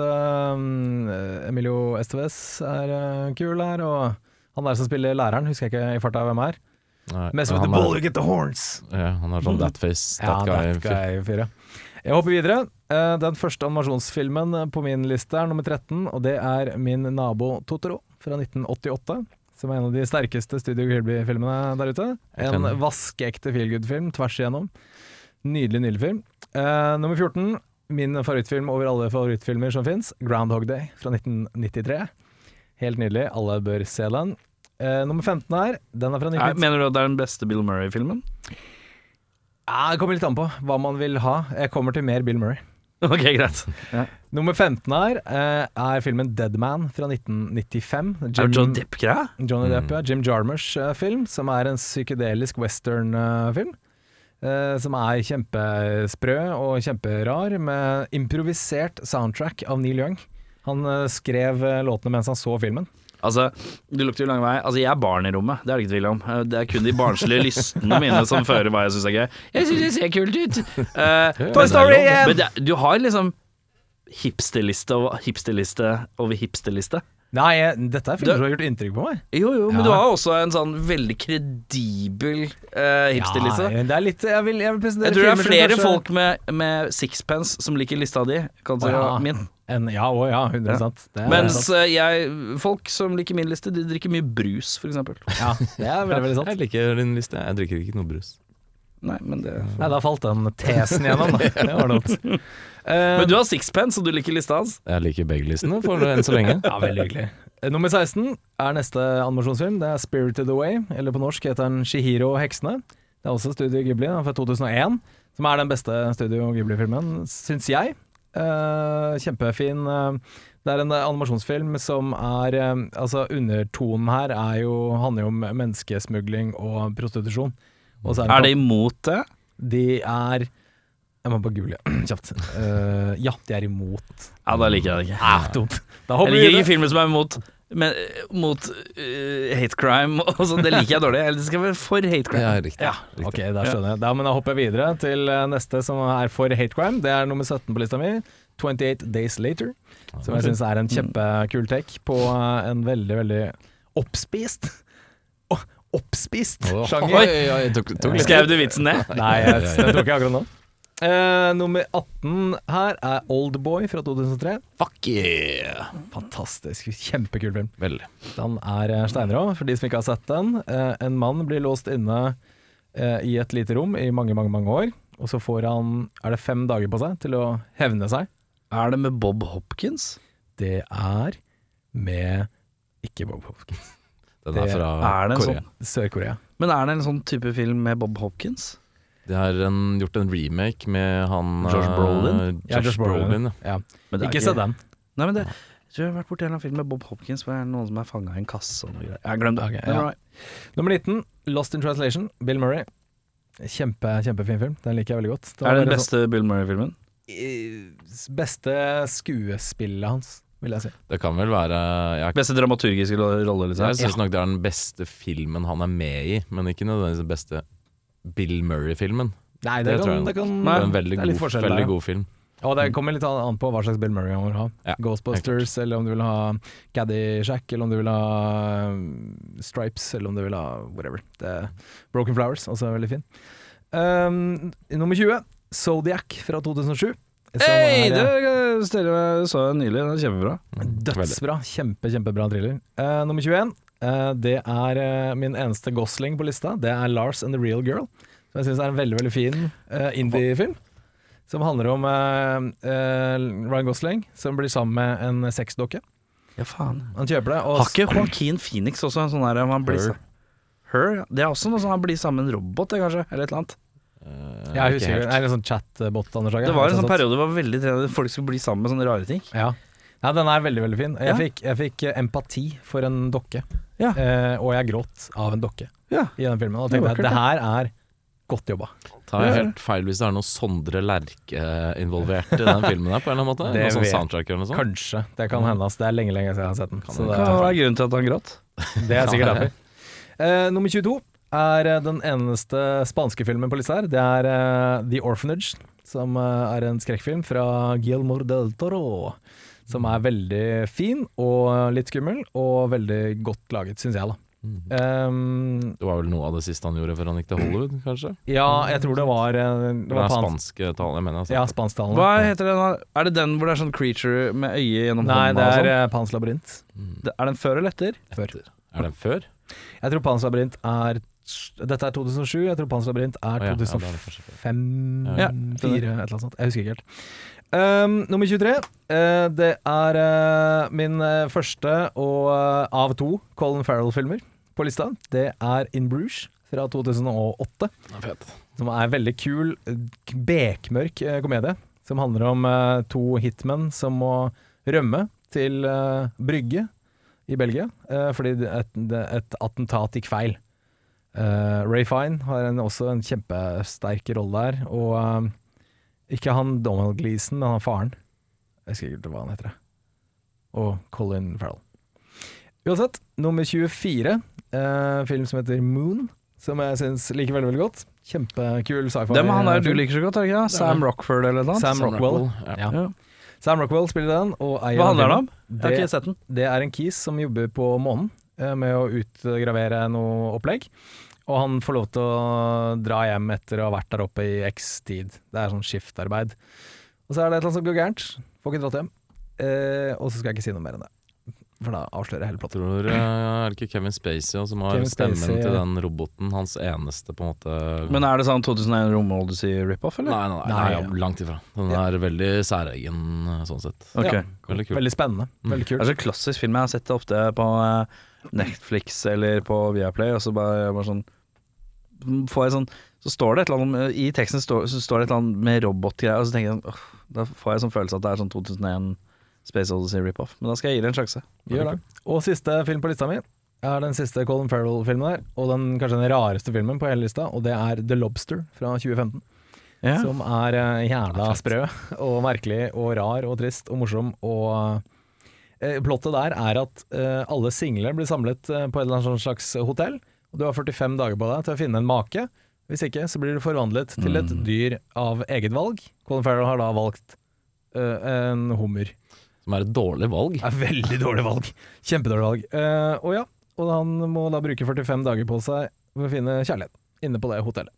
eh, Emilio Estevez er eh, kul her, og han der som spiller læreren, husker jeg ikke i farta hvem er.
Nei,
Mess with the
han er-
ball, you get the horns!
Ja, han er sånn that face, that guy.
That Guy fyr, ja. Jeg hopper videre. Eh, Den første animasjonsfilmen på min liste er nummer 13, og det er Min nabo Totoro fra 1988. Som er en av de sterkeste Studio Gilby-filmene der ute.
Jeg
En
kjenner.
vaskeekte feelgood-film tvers igjennom. Nydelig, nydelig film. Eh, nummer 14, min favorittfilm over alle favorittfilmer som fins, 'Groundhog Day' fra 1993. Helt nydelig, alle bør se den. Eh, nummer 15 her, den er fra 19...
Nei, mener du at det er den beste Bill Murray-filmen?
Ja, det kommer litt an på hva man vil ha. Jeg kommer til mer Bill Murray.
Ok, greit.
Nummer 15 her eh, er filmen Dead Man fra 1995.
Er
Jim-
det John Depp-greia?
Johnny Depp, ja. Jim Jarmers eh, film, som er en psykedelisk western-film. eh, som er kjempesprø og kjemperar, med improvisert soundtrack av Neil Young. Han eh, skrev eh, låtene mens han så filmen.
Altså, du lukter jo lang vei. Altså, jeg er barn i rommet, det er det ikke tvil om. Eh, Det er kun de barnslige lystene mine som fører hva jeg syns er gøy. Jeg syns det ser kult ut! Eh,
Toy Story igjen!
men det, er- du har liksom hipsterliste over hipsterliste over hipsterliste.
Nei, eh, dette er
Du-
filmer som har gjort inntrykk på meg.
Jo, jo, men
Ja.
du har også en sånn veldig kredibel eh, hipsterliste.
Ja, det er litt Jeg vil, jeg vil presentere
jeg tror det er
filmer som
flere
kanskje-
folk med, med sixpence som liker lista di, kan du si,
Å, ja.
min.
en, Ja, å ja, 100 Det er sant.
Mens eh, jeg, folk som liker min liste, de drikker mye brus, for eksempel.
Ja, det er veldig, veldig sant.
Jeg liker din liste, jeg drikker ikke noe brus.
Nei, men det
Nei, da falt den tesen gjennom. Da. Det var dumt. Eh,
Men du har sixpence, og du liker lista hans.
Jeg liker begge listene for enn så lenge.
ja, veldig hyggelig. Eh, Nummer 16 er neste animasjonsfilm. Det er 'Spirited Away', eller på norsk heter den 'Shihiro og heksene'. Det er også Studio Ghibli den er fra 2001, som er den beste Studio Ghibli-filmen, syns jeg. Eh, kjempefin. eh, Det er en eh, animasjonsfilm som er eh, Altså, undertonen her er jo, handler jo om menneskesmugling og prostitusjon. Og så
Er det imot det?
De er Jeg må bare google kjapt. Eh, ja, de er imot.
Ja, da liker jeg det ikke.
Ah, dumt. Da
Jeg
hopper vi
liker ikke
videre.
filmer som er imot men, eh, mot eh, hate crime og sånn. Det liker jeg dårlig. Jeg skal være for hate crime.
Ja, riktig.
Ja.
riktig.
Ok, da skjønner jeg. Da, men da hopper jeg videre til eh, neste som er for hate crime. Det er nummer 17 på lista mi. 28 Days Later. Som jeg syns er en kjempekul take på eh, en veldig, veldig oppspist Å, Oppspist
Åh,
sjanger.
Oi, oi, oi, tok, tok litt.
Skrev du vitsen ned?
Nei, jeg, den tok jeg akkurat nå. Eh, nummer 18 her er Oldboy fra 2003.
Fuck yeah!
Fantastisk. Kjempekul film.
Veldig.
Den er eh, steinrå, for de som ikke har sett den. Eh, En mann blir låst inne eh, i et lite rom i mange, mange mange år. Og så får han er det fem dager på seg til å hevne seg.
Er det med Bob Hopkins?
Det er med ikke Bob Hopkins.
Den er
Det
fra
er det en
Korea.
sånn?
Sør-Korea.
Men er det en sånn type film med Bob Hopkins?
De har en, gjort en remake med han
Josh
eh,
Brolin?
Josh Brolin, ja.
Ja.
Men det er
Ikke se den.
Nei, men det, tror jeg har vært borti en eller annen film med Bob Hopkins hvor det er noen som er fanga i en kasse og noe greier. Jeg glemte
Ok,
det.
ja. Nummer 19, Lost in Translation, Bill Murray. Kjempe, Kjempefin film. Den liker jeg veldig godt.
Er det den
bare
beste Bill Murray-filmen?
sånn- eh, beste skuespillet hans, vil jeg si.
Det kan vel være Jeg,
Beste dramaturgiske ro- rolle, liksom?
jeg syns nok det er den beste filmen han er med i, men ikke nødvendigvis den beste Bill Murray-filmen.
Nei,
det
det,
tror jeg
kan, det kan
Det
Nei,
er en veldig,
det er litt
god,
forskjell der,
veldig
ja.
god film.
Og det kommer litt an an på hva slags Bill Murray han vil ha.
Ja,
Ghostbusters, eller om du vil ha Caddyshack, eller om du vil ha um, Stripes, eller om du vil ha whatever. Det, Broken Flowers, også er veldig fin. Um, nummer 20, Zodiac fra 2007. som
Hei,
er-
det eh, stiller jeg så jeg nylig. Den er kjempebra.
Dødsbra. Kjempe, kjempebra thriller. Eh, nummer 21, eh, det er eh, min eneste Gosling på lista. Det er Lars and the Real Girl. Som jeg syns er en veldig veldig fin eh, indie-film. Som handler om eh, eh, Ryan Gosling som blir sammen med en sexdokke.
Ja, faen.
Han kjøper det. Og
Har ikke Joaquin Phoenix også en sånn der man blir
Her.
sa- Her? ja. Det er også noe sånn han blir sammen med en robot, det, kanskje? Eller et eller annet.
Eh,
ja, jeg
ikke
husker,
helt.
det er en sånn chatbot. Anders Hagen.
Det var en sånn
Sånn-
periode hvor det var veldig trendy folk skulle bli sammen med sånne rare ting.
Ja. ja, den er veldig veldig fin. Jeg,
Ja.
fikk, jeg fikk eh, empati for en dokke.
Ja.
Eh, og jeg gråt av en dokke
Ja.
i den filmen. Og
Det
tenkte
var
jeg at det her er godt jobba.
Tar jeg helt feil hvis det er noe Sondre Lerche eh, involvert i den filmen her, på en eller annen måte?
Det
Noe sånn
vet-
soundtrack eller noe sånt?
Kanskje. Det kan hende. ass. Det er lenge, lenge siden jeg har sett den. Så
Hva
det,
var grunnen til at han gråt?
det er sikkert derfor. Eh, nummer 22 er eh, den eneste spanske filmen på lista her. Det er eh, The Orphanage, som eh, er en skrekkfilm fra Guillermo del Toro. Som er veldig fin og litt skummel, og veldig godt laget, syns jeg, da. Eh,
Mm. Det var vel noe av det siste han gjorde før han gikk til Hollywood, kanskje?
ja, jeg tror det var eh, Det
Det
var
er
spansk.
spanske tall, jeg mener. Altså.
Ja, spansktalende.
Hva heter den? da? Er det den hvor det er sånn creature med øye gjennom
Nei, det
hånda? og
er
sånn?
eh, Pans labyrint.
Det- er den før eller etter?
Før.
Mm. Er den før?
Jeg tror Pans labyrint er Dette er 2007, jeg tror Pans labyrint er
Å ja, ja, det er det
2005
Ja,
4, et eller annet sånt. Jeg husker ikke helt. Um, nummer 23. eh, det er eh, min eh, første og eh, av to Colin Farrell-filmer på lista. Det er In Bruges fra 2008,
Den er fet.
som er en veldig kul, eh, bekmørk eh, komedie. Som handler om eh, to hitmen som må rømme til eh, Brygge i Belgia eh, fordi det- et, det- et attentat gikk feil. Eh, Ray Fine har en, også en kjempesterk rolle der, og eh, ikke han Donald Gleason, men han faren. Jeg husker ikke hva han heter. jeg. Og Colin Farrell. Uansett, nummer 24, eh, film som heter Moon, som jeg syns liker veldig veldig godt. Kjempekul sci-fi.
Det er med han der du
film.
liker så godt, er det ikke? det? Sam Rockford eller noe
Sam
sånt?
Rockwell.
Ja.
Ja.
Ja.
Sam Rockwell spiller den. Og eier
Hva handler den om?
filmen.
Jeg har
Det-
ikke sett den.
det er en kis som jobber på månen eh, med å utgravere noe opplegg. Og han får lov til å dra hjem etter å ha vært der oppe i x tid. Det er sånn skiftarbeid. Og så er det et eller annet som går gærent. Får ikke dratt hjem. Eh, og så skal jeg ikke si noe mer enn det. For da avslører jeg hele plottet.
Tror, eh, er det ikke Kevin Spacey også, som har
Kevin
stemmen
Spacey,
til
ja.
den roboten? Hans eneste, på en måte
Men er det sånn 2001 Romoldus i rip-off,
Nei,
eller?
nei, nei,
Nei,
ja,
ja.
langt ifra. Den
Ja.
er veldig særegen eh, sånn sett.
Ok.
Ja.
Veldig kul.
Veldig spennende. Veldig
Det
kult.
er så klassisk film. Jeg har sett det ofte på eh, Netflix eller på Viaplay, og så bare, bare sånn Får jeg sånn Så står det et eller annet om I teksten står, så står det et eller annet med robotgreier, og så tenker jeg sånn åh, Da får jeg sånn følelse at det er sånn 2001 Space Odyssey rip-off. Men da skal jeg gi det en sjanse.
Gjør det. Og siste film på lista mi er den siste Colin Farrell-filmen her. Og den kanskje den rareste filmen på hele lista, og det er The Lobster fra 2015.
Ja.
Som er eh, jævla sprø og merkelig og rar og trist og morsom og eh, Plottet der er at eh, alle single blir samlet eh, på et eller annet sånn slags hotell. Og du har 45 dager på deg til å finne en make. Hvis ikke så blir du forvandlet til et dyr av eget valg. Colin Farrell har da valgt eh, en hummer.
Som er et dårlig valg.
Det er veldig dårlig valg. Kjempedårlig valg. Eh, og ja, og han må da bruke 45 dager på seg for å finne kjærlighet inne på det hotellet.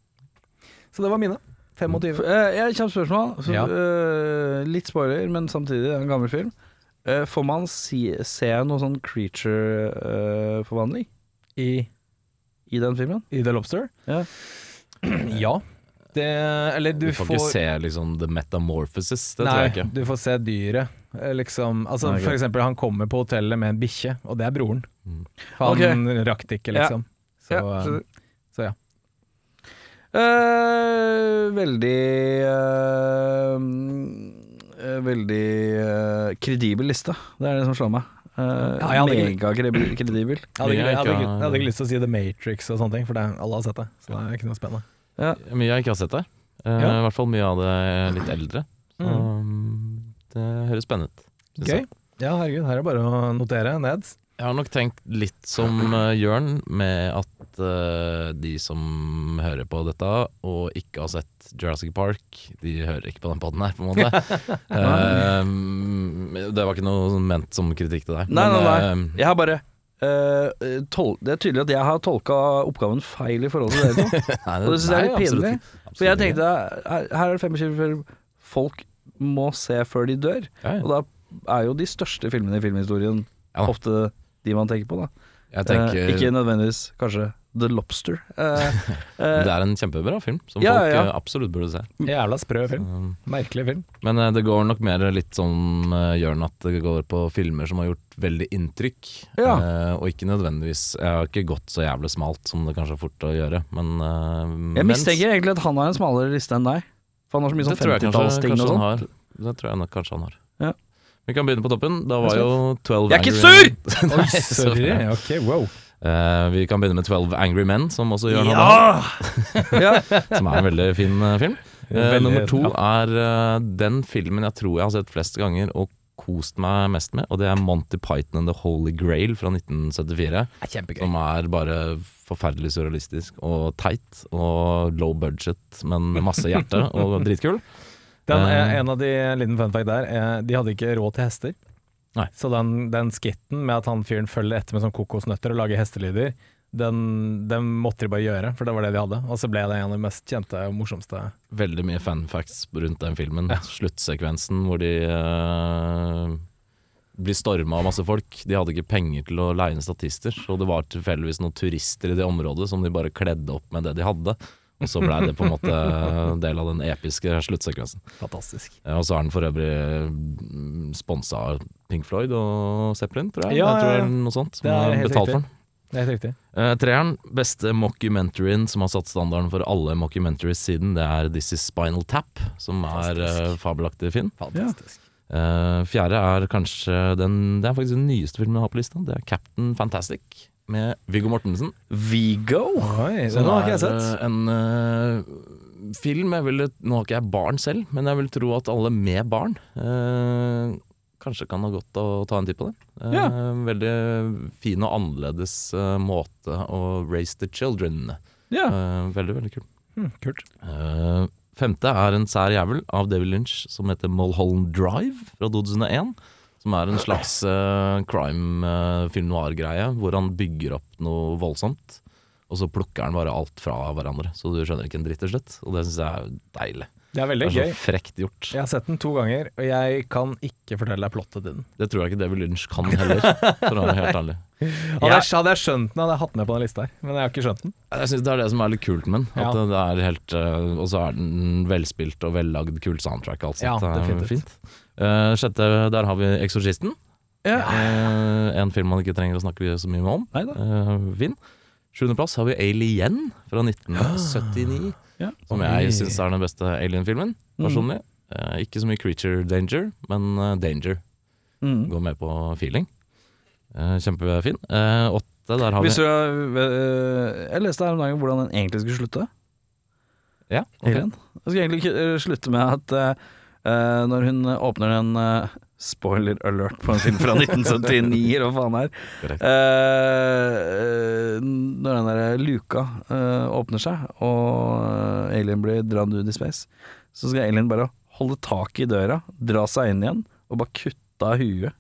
Så det var mine. 25.
Eh, Jeg har et kjapt spørsmål. Så,
Ja.
eh, litt spoiler, men samtidig det er en gammel film. Eh, får man si, se noe sånn creature-forvandling
i,
i den filmen?
i The Lobster?
Ja.
Ja. Det, eller du,
Du får ikke se liksom The Metamorphosis, det tror
Nei,
jeg ikke.
du får se dyret. eh, Liksom, altså,
Nei,
for
greit.
eksempel, han kommer på hotellet med en bikkje, og det er broren.
Mm.
For han
Ok.
rakk det ikke, liksom.
um,
Så,
Ja,
eh,
skjønner.
så ja.
Eh, veldig eh, eh, veldig eh, kredibel liste. Det er det som slår meg. Eh,
Ja, jeg hadde ikke-
Megakredibel.
Jeg hadde, ikke, jeg, hadde, ikke-
Ja.
jeg hadde ikke lyst til å si The Matrix og sånne ting, for det, alle har sett det. Så det er ikke noe spennende.
Mye jeg ikke har sett der. Eh,
Ja.
I hvert fall mye av det litt eldre. Så,
Mm,
mm, det høres spennende ut. synes jeg.
Gøy. Ja, herregud, her er det bare å notere ned.
Jeg har nok tenkt litt som eh, Jørn, med at eh, de som hører på dette og ikke har sett Jurassic Park, de hører ikke på den podden her, på en måte. Eh, det var ikke noe sånn ment som kritikk til deg.
Nei, nei, nei.
men, eh,
Jeg har bare eh, tol Det er tydelig at jeg har tolka oppgaven feil i forhold til dere to.
nei,
Og det synes jeg er
nei,
litt
absolutt
pinlig.
ikke. Absolutt
For jeg
ikke.
tenkte her her er det 25 filmer folk må se før de dør.
Ja, ja.
Og da er jo de største filmene i filmhistorien
Ja da.
ofte de man tenker på, da.
Jeg tenker
Eh, ikke nødvendigvis kanskje The Lobster. Eh, eh,
det er en kjempebra film, som
Ja,
folk
ja.
eh, absolutt burde se.
Jævla sprø film.
Um,
Merkelig film.
Men eh, det går nok mer litt sånn eh, Jørn at det går på filmer som har gjort veldig inntrykk.
Ja.
Eh, og ikke nødvendigvis Jeg har ikke gått så jævlig smalt som det kanskje er fort å gjøre, men eh,
jeg
mens-
mistenker egentlig at han har en smalere liste enn deg. For han har så mye sånn
Det tror jeg kanskje,
50-tallsting
kanskje
og
han
sånn.
har. Det tror jeg nok kanskje han har.
Ja.
Vi kan begynne på toppen. Da var
Jeg
jo 12
Jeg er ikke
Angry- Nei,
Oi,
så
sorry.
bra.
Ok, wow.
Eh, vi kan begynne med 12 Angry Men, som også Jørn hadde.
ja!
Som er en veldig fin eh, film. Eh,
Veldig
nummer to
bra.
er eh, den filmen jeg tror jeg har sett flest ganger og kost meg mest med, og det er Monty Python and The Holy Grail fra 1974.
Det er kjempegøy.
Som er bare forferdelig surrealistisk og teit og low budget, men med masse hjerte og dritkul.
Den,
Eh.
en av de liten fun fact der, eh, de hadde ikke råd til hester.
Nei.
Så den, den skitten med at han fyren følger etter med sånn kokosnøtter og lager hestelyder, den, den måtte de bare gjøre, for det var det de hadde. Og så ble det en av de mest kjente og morsomste.
Veldig mye fun facts rundt den filmen. Sluttsekvensen hvor de eh, blir storma av masse folk. De hadde ikke penger til å leie inn statister, så det var tilfeldigvis noen turister i det området som de bare kledde opp med det de hadde. Og så blei det på en måte del av den episke sluttsekvensen.
Fantastisk.
Ja, Og så er den for øvrig sponsa av Pink Floyd og Zeppelin, tror jeg.
Ja,
jeg tror
ja, ja.
det er noe sånt.
Det er
Man
helt riktig.
betaler for den.
Det er helt riktig.
Eh, treeren, beste mockumentaryen som har satt standarden for alle mockumentaries siden, det er This Is Spinal Tap, som er
Fantastisk.
eh, fabelaktig fin.
Fantastisk.
Eh, fjerde er kanskje den Det er faktisk den nyeste filmen jeg har på lista. Det er Captain Fantastic med Viggo Mortensen.
Vigo?
Oi,
Som
den har
er,
ikke jeg sett.
eh, En eh, film jeg ville Nå har ikke jeg barn selv, men jeg vil tro at alle med barn eh, kanskje kan ha godt av å ta en titt på det. Eh,
Ja.
Veldig fin og annerledes eh, måte å raise the children.
Ja.
Eh, veldig, veldig kul.
Hm, kult.
Eh, femte er en sær jævel av David Lynch som heter Mulholland Drive fra 2001. Som er en slags eh, crime eh, film noir-greie hvor han bygger opp noe voldsomt. Og så plukker han bare alt fra hverandre, så du skjønner ikke en dritt til slutt. Og det syns jeg er deilig.
Det er
Det
veldig
er
gøy.
så frekt gjort.
Jeg har sett den to ganger, og jeg kan ikke fortelle deg plottet til den.
Det tror jeg ikke David Lynch kan heller, for å være helt ærlig.
Hadde jeg, hadde jeg skjønt den, hadde jeg hatt den med på den lista her, men jeg har ikke skjønt den.
Jeg synes Det er det som er litt kult med den.
Ja.
At det- det er helt eh, Og så er den velspilt og vellagd, kul soundtrack. Altså.
Ja,
det er
definitivt.
fint. Eh, sjette, der har vi 'Eksorsisten'.
Ja.
Eh, en film man ikke trenger å snakke så mye om.
Nei da.
Uh, Vinn. Sjuendeplass har vi 'Alien' fra 1979.
Ja.
Som
Oi.
jeg syns er den beste Alien-filmen, personlig. Eh, ikke så mye 'Creature Danger', men eh, 'Danger'.
Mm.
Går med på feeling. Eh, kjempefin. Eh, åtte, der har vi
Hvis du, øh, jeg leste her om dagen hvordan den egentlig skulle slutte.
Ja, ok.
Alien. Den skulle egentlig ikke, øh, slutte med at øh, når hun åpner den øh, Spoiler alert på en film fra 1979, eller hva faen det er.
Korrekt.
Eh, øh, når den der luka øh, åpner seg, og øh, alien blir dratt ut i space, så skal alien bare holde tak i døra, dra seg inn igjen, og bare kutte av huet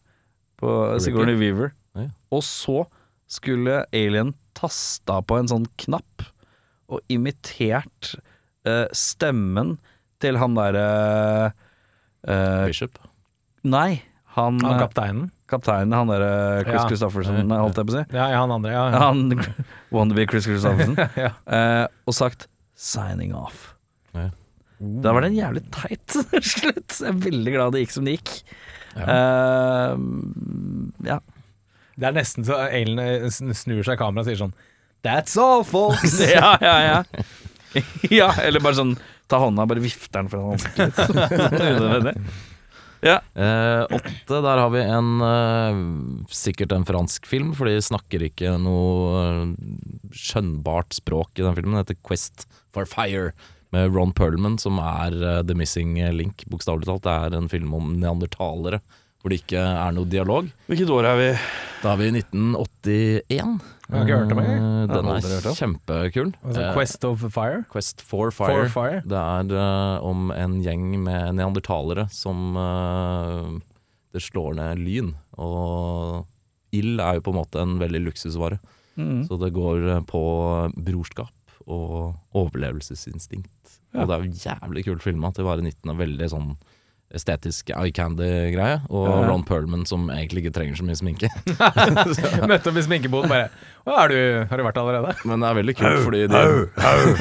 på Sigourney Weaver.
Ja.
Og så skulle alien tasta på en sånn knapp og imitert eh, stemmen til han derre eh,
Bishop.
Nei, han,
Han
eh,
kapteinen.
kapteinen, han derre Chris
Ja.
Christofferson, nei, holdt jeg på å si.
Ja, ja, han andre. Ja, ja.
Han wannabe Chris Christofferson.
Ja.
eh, og sagt 'signing off'.
Ja.
Da var det en jævlig teit slutt. Jeg er veldig glad det gikk som det gikk. Eh, ja.
Det er nesten så Alen eh, sn- snur seg i kameraet og sier sånn That's all, folks!
ja, ja, ja. ja, eller bare sånn ta hånda og bare vifte den foran ansiktet. litt. Unødvendig. Ja.
Eh, åtte, der har vi en eh, sikkert en fransk film, for de snakker ikke noe eh, skjønnbart språk i den filmen. Den heter Quest for Fire med Ron Perlman, som er eh, The Missing Link, bokstavelig talt. Det er en film om neandertalere hvor det ikke er noe dialog.
Hvilket år er vi?
Da er vi i 1981.
Jeg har ikke hørt om den, jeg.
Eh, Den
Jeg har aldri hørt
er
om.
kjempekul.
Altså,
Eh,
Quest of Fire.
Quest for
For
Fire.
Fire.
Det er eh, om en gjeng med neandertalere som eh, Det slår ned lyn. Og ild er jo på en måte en veldig luksusvare.
Mm.
Så det går eh, på brorskap og overlevelsesinstinkt.
Ja.
Og det er jo jævlig kult filma til å være 19 og veldig sånn estetisk eye candy-greie. Og
Ja, ja.
Ron Perlman som egentlig ikke trenger så mye sminke.
Møtte opp i sminkeboden bare Å, er du, har du vært allerede?
Men det er veldig kult, fordi de,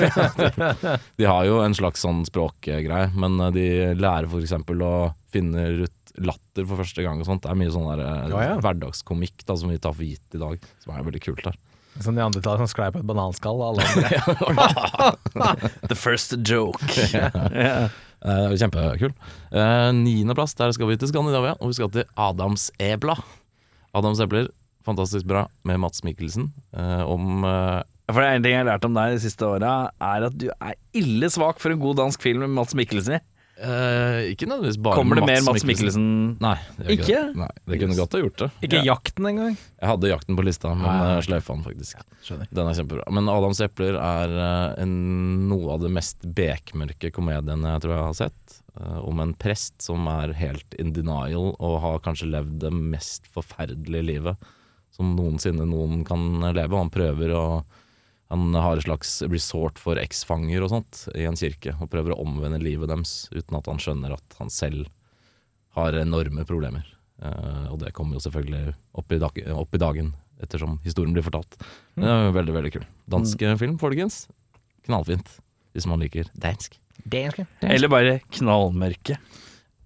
de har jo en slags sånn språkgreie, men eh, de lærer f.eks. å finne ut latter for første gang og sånt. Det er mye sånn der eh,
Ja, ja.
hverdagskomikk da, som vi tar for gitt i dag, som er veldig kult der.
Sånn neandertaler som sklei på et bananskall. Alle andre.
The first joke. Ja.
Eh, kjempekul. Eh, Niendeplass, der skal vi til Skandinavia, og vi skal til Adams Ebla. Adams Epler, fantastisk bra, med Mats Mikkelsen eh, om eh,
For det er en ting jeg har lært om deg de siste åra, er at du er ille svak for en god dansk film med Mats Mikkelsen i.
eh, Ikke nødvendigvis bare
Kommer det mer Mats Mikkelsen?
Nei, det gjør
Ikke?
det. Nei, det kunne godt ha gjort det.
Ikke jakten engang.
Jeg hadde jakten på lista, men
Ja, ja.
eh, sløyfa den faktisk.
Skjønner.
Den er kjempebra. Men Adams epler er eh, en, noe av det mest bekmørke komediene jeg tror jeg har sett. eh, om en prest som er helt in denial og har kanskje levd det mest forferdelige livet som noensinne noen kan leve. Og han prøver å Han har et slags resort for eksfanger og sånt i en kirke, og prøver å omvende livet deres uten at han skjønner at han selv har enorme problemer. Eh, og det kommer jo selvfølgelig opp i, dag, opp i dagen ettersom historien blir fortalt. Men det er jo veldig, veldig kul. Dansk eh, film, folkens. Knallfint. Hvis man liker dansk.
Eller bare knallmørke.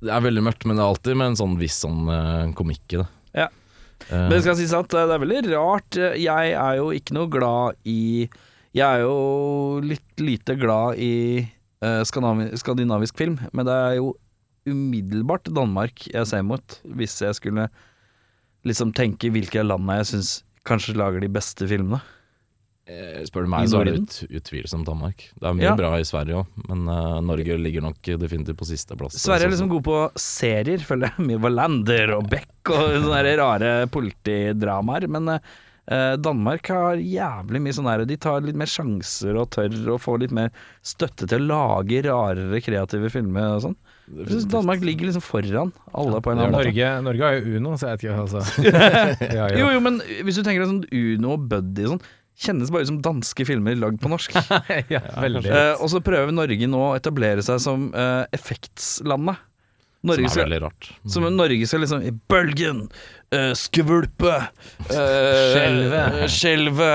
Det er veldig mørkt, men det er alltid med en sånn viss sånn eh, komikk i det.
Ja.
Eh,
Men det skal sies at eh, det er veldig rart. Eh, Jeg er jo ikke noe glad i Jeg er jo litt lite glad i eh, skandinavi- skandinavisk film, men det er jo umiddelbart Danmark jeg ser mot, hvis jeg skulle liksom tenke hvilke av landene jeg syns kanskje lager de beste filmene.
eh, spør du
I
meg, så er det ut, utvilsomt Danmark. Det er mye
Ja.
bra i Sverige òg, men eh, Norge ligger nok definitivt på sisteplass.
Sverige er liksom god på serier, føler jeg. Mye Wallander og Beck og sånne der rare politidramaer. Men eh, Danmark har jævlig mye sånn her De tar litt mer sjanser og tør å få litt mer støtte til å lage rarere kreative filmer og sånn. Jeg synes Danmark ligger liksom foran alle på en eller annen måte.
Norge, Norge har jo Uno, så jeg vet ikke altså. ja, ja.
Jo, jo, men hvis du tenker deg sånn Uno og Buddy og sånn, kjennes bare ut som danske filmer lagd på norsk.
ja, veldig.
Eh, og så prøver Norge nå å etablere seg som eh, effektslandet.
Som
Norge
er
skal
veldig rart.
Som Norge skal liksom i bølgen, eh, skvulpe, eh,
Skjelve.
skjelve,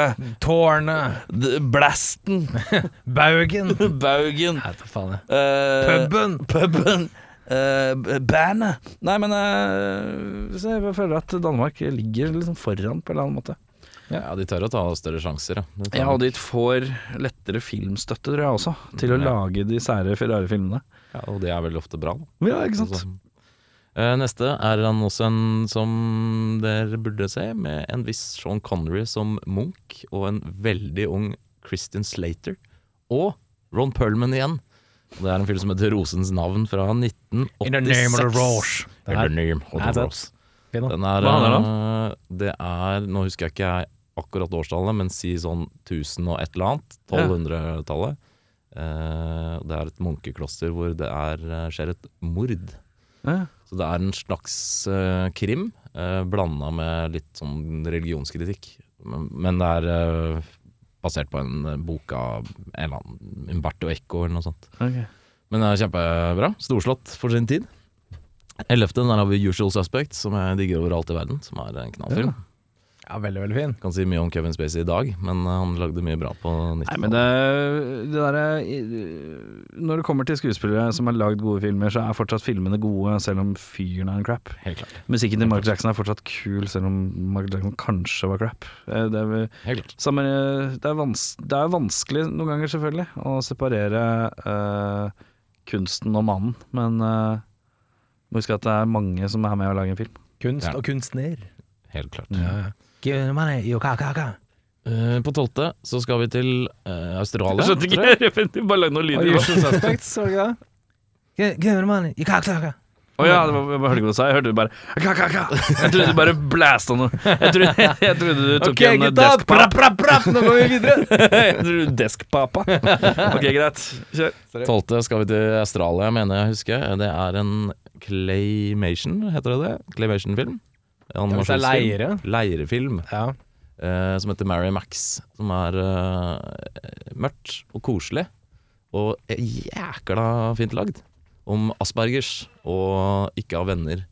Tårnet,
d- blasten,
Baugen,
baugen,
Nei, ta faen, jeg.
eh,
puben.
puben, eh, b- bandet. Nei, men eh, så jeg føler at Danmark ligger liksom foran på en eller annen måte.
Ja, de tør å ta større sjanser, ja. Det tar
Ja, og
nok.
de får lettere filmstøtte, tror jeg også, til å
Ja.
lage de sære, rare filmene.
ja, og det er veldig ofte bra. Da.
Ja, ikke sant?
Altså. Eh, Neste er han også en som dere burde se, med en viss Sean Connery som Munch, og en veldig ung Christian Slater, og Ron Perlman igjen. Og Det er en film som heter Rosens navn fra 1986.
In the name of the rose.
In the name of
Nei,
the
sant.
rose.
Fin, da.
Den er,
Hva handler det
eh, det er Nå husker jeg ikke jeg akkurat årstallet, men si sånn 1000 og et eller annet. 1200-tallet. Eh, det er et munkekloster hvor det er, eh, skjer et mord.
Ja.
Så det er en slags eh, krim uh, blanda med litt sånn religionskritikk. Men, men det er eh, basert på en eh, bok av en eller annen Umberto Eco eller noe sånt.
Ok.
Men det er kjempebra. Storslått for sin tid. Ellevte, der har vi Usual Suspect, som jeg digger overalt i verden. Som er en knallfilm.
Ja, veldig, veldig fin.
Kan si mye om Kevin Spacey i dag, men eh, han lagde mye bra på
Nei, men
90-tallet.
det, det derre i- Når det kommer til skuespillere som har lagd gode filmer, så er fortsatt filmene gode, selv om fyren er en crap.
Helt klart.
Musikken til Mark Jackson er fortsatt kul, selv om Mark Jackson kanskje var crap. Eh, Det er, vel-
Helt klart.
samme, eh, det er, vans, det er vanskelig noen ganger, selvfølgelig, å separere eh, kunsten og mannen, men eh, Må huske at det er mange som er med å lage en film.
Kunst
Ja.
og kunstner.
Helt klart.
Give me money, you ca- ca- ca.
Eh, på tolvte så skal vi til eh, Australia. tror jeg.
ikke, bare lag noen
Usual
altså.
Suspects, var det ikke det? Give- Give me money, you ca- ca- ca.
Å ja, det var, jeg hørte ikke hva du sa. Jeg hørte du bare ka, ka, ka. Jeg trodde du bare blæsta noe. Jeg trodde, jeg trodde du tok
Ok,
en
gutta,
deskpap.
prapp, prapp, prapp, nå går vi videre.
Jeg trodde du deskpapa. Ok, greit. Kjør.
Tolvte skal vi til Australia, mener jeg å huske. Det er en claymation, heter det det? Claymation-film.
hvis det er
Animasjonsfilm. Leirefilm
Ja.
eh, som heter Mary Max. Som er eh, mørkt og koselig, og jækla fint lagd. Om aspergers og ikke ha venner,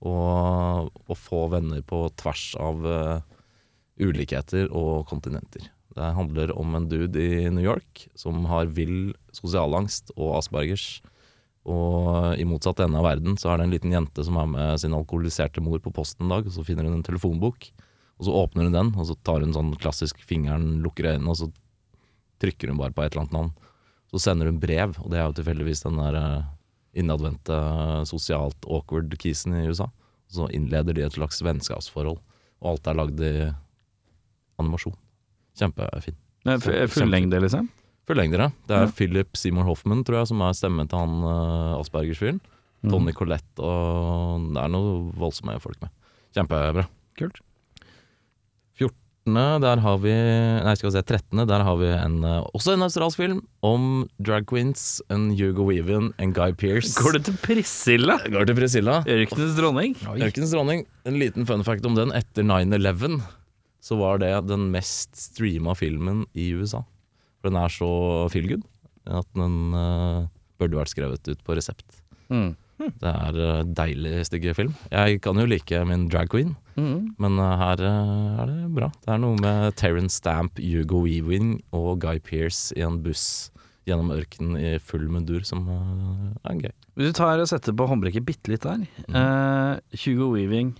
og å få venner på tvers av eh, ulikheter og kontinenter. Det handler om en dude i New York som har vill sosialangst og aspergers. Og i motsatt ende av verden så er det en liten jente som er med sin alkoholiserte mor på posten en dag, og så finner hun en telefonbok. Og så åpner hun den, og så tar hun sånn klassisk fingeren, lukker øynene, og så trykker hun bare på et eller annet navn. Så sender hun brev, og det er jo tilfeldigvis den der eh, innadvendte, eh, sosialt awkward kisen i USA. Så innleder de et slags vennskapsforhold, og alt er lagd i animasjon. Kjempefint.
Men fu- Fullengde, liksom?
Følg dere. Det er Philip Seymour Hoffman, tror jeg, som er stemmen til han eh, Aspergers-fyren.
Mm.
Tony Collette og Det er noe voldsomme folk med. Kjempebra.
Kult.
14. der har vi Nei, skal vi se, 13. der har vi en, eh, også en australsk film om drag queens, en Hugo Weaven, en Guy Pearce.
Går du til Priscilla?
Går til Priscilla?
Ørkenens dronning?
Ørkenens dronning, en liten fun fact om den. Etter 9-11 så var det den mest streama filmen i USA. For den er så feelgood at den eh, burde vært skrevet ut på resept.
Mm.
Det er eh, deilig stygge film. Jeg kan jo like min drag queen,
Mm.
men eh, her eh, er det bra. Det er noe med Terence Stamp, Hugo Weaving og Guy Pearce i en buss gjennom ørkenen i full mundur, som eh, er gøy.
Hvis du tar og setter på håndbrekket bitte litt der eh, Hugo Weaving,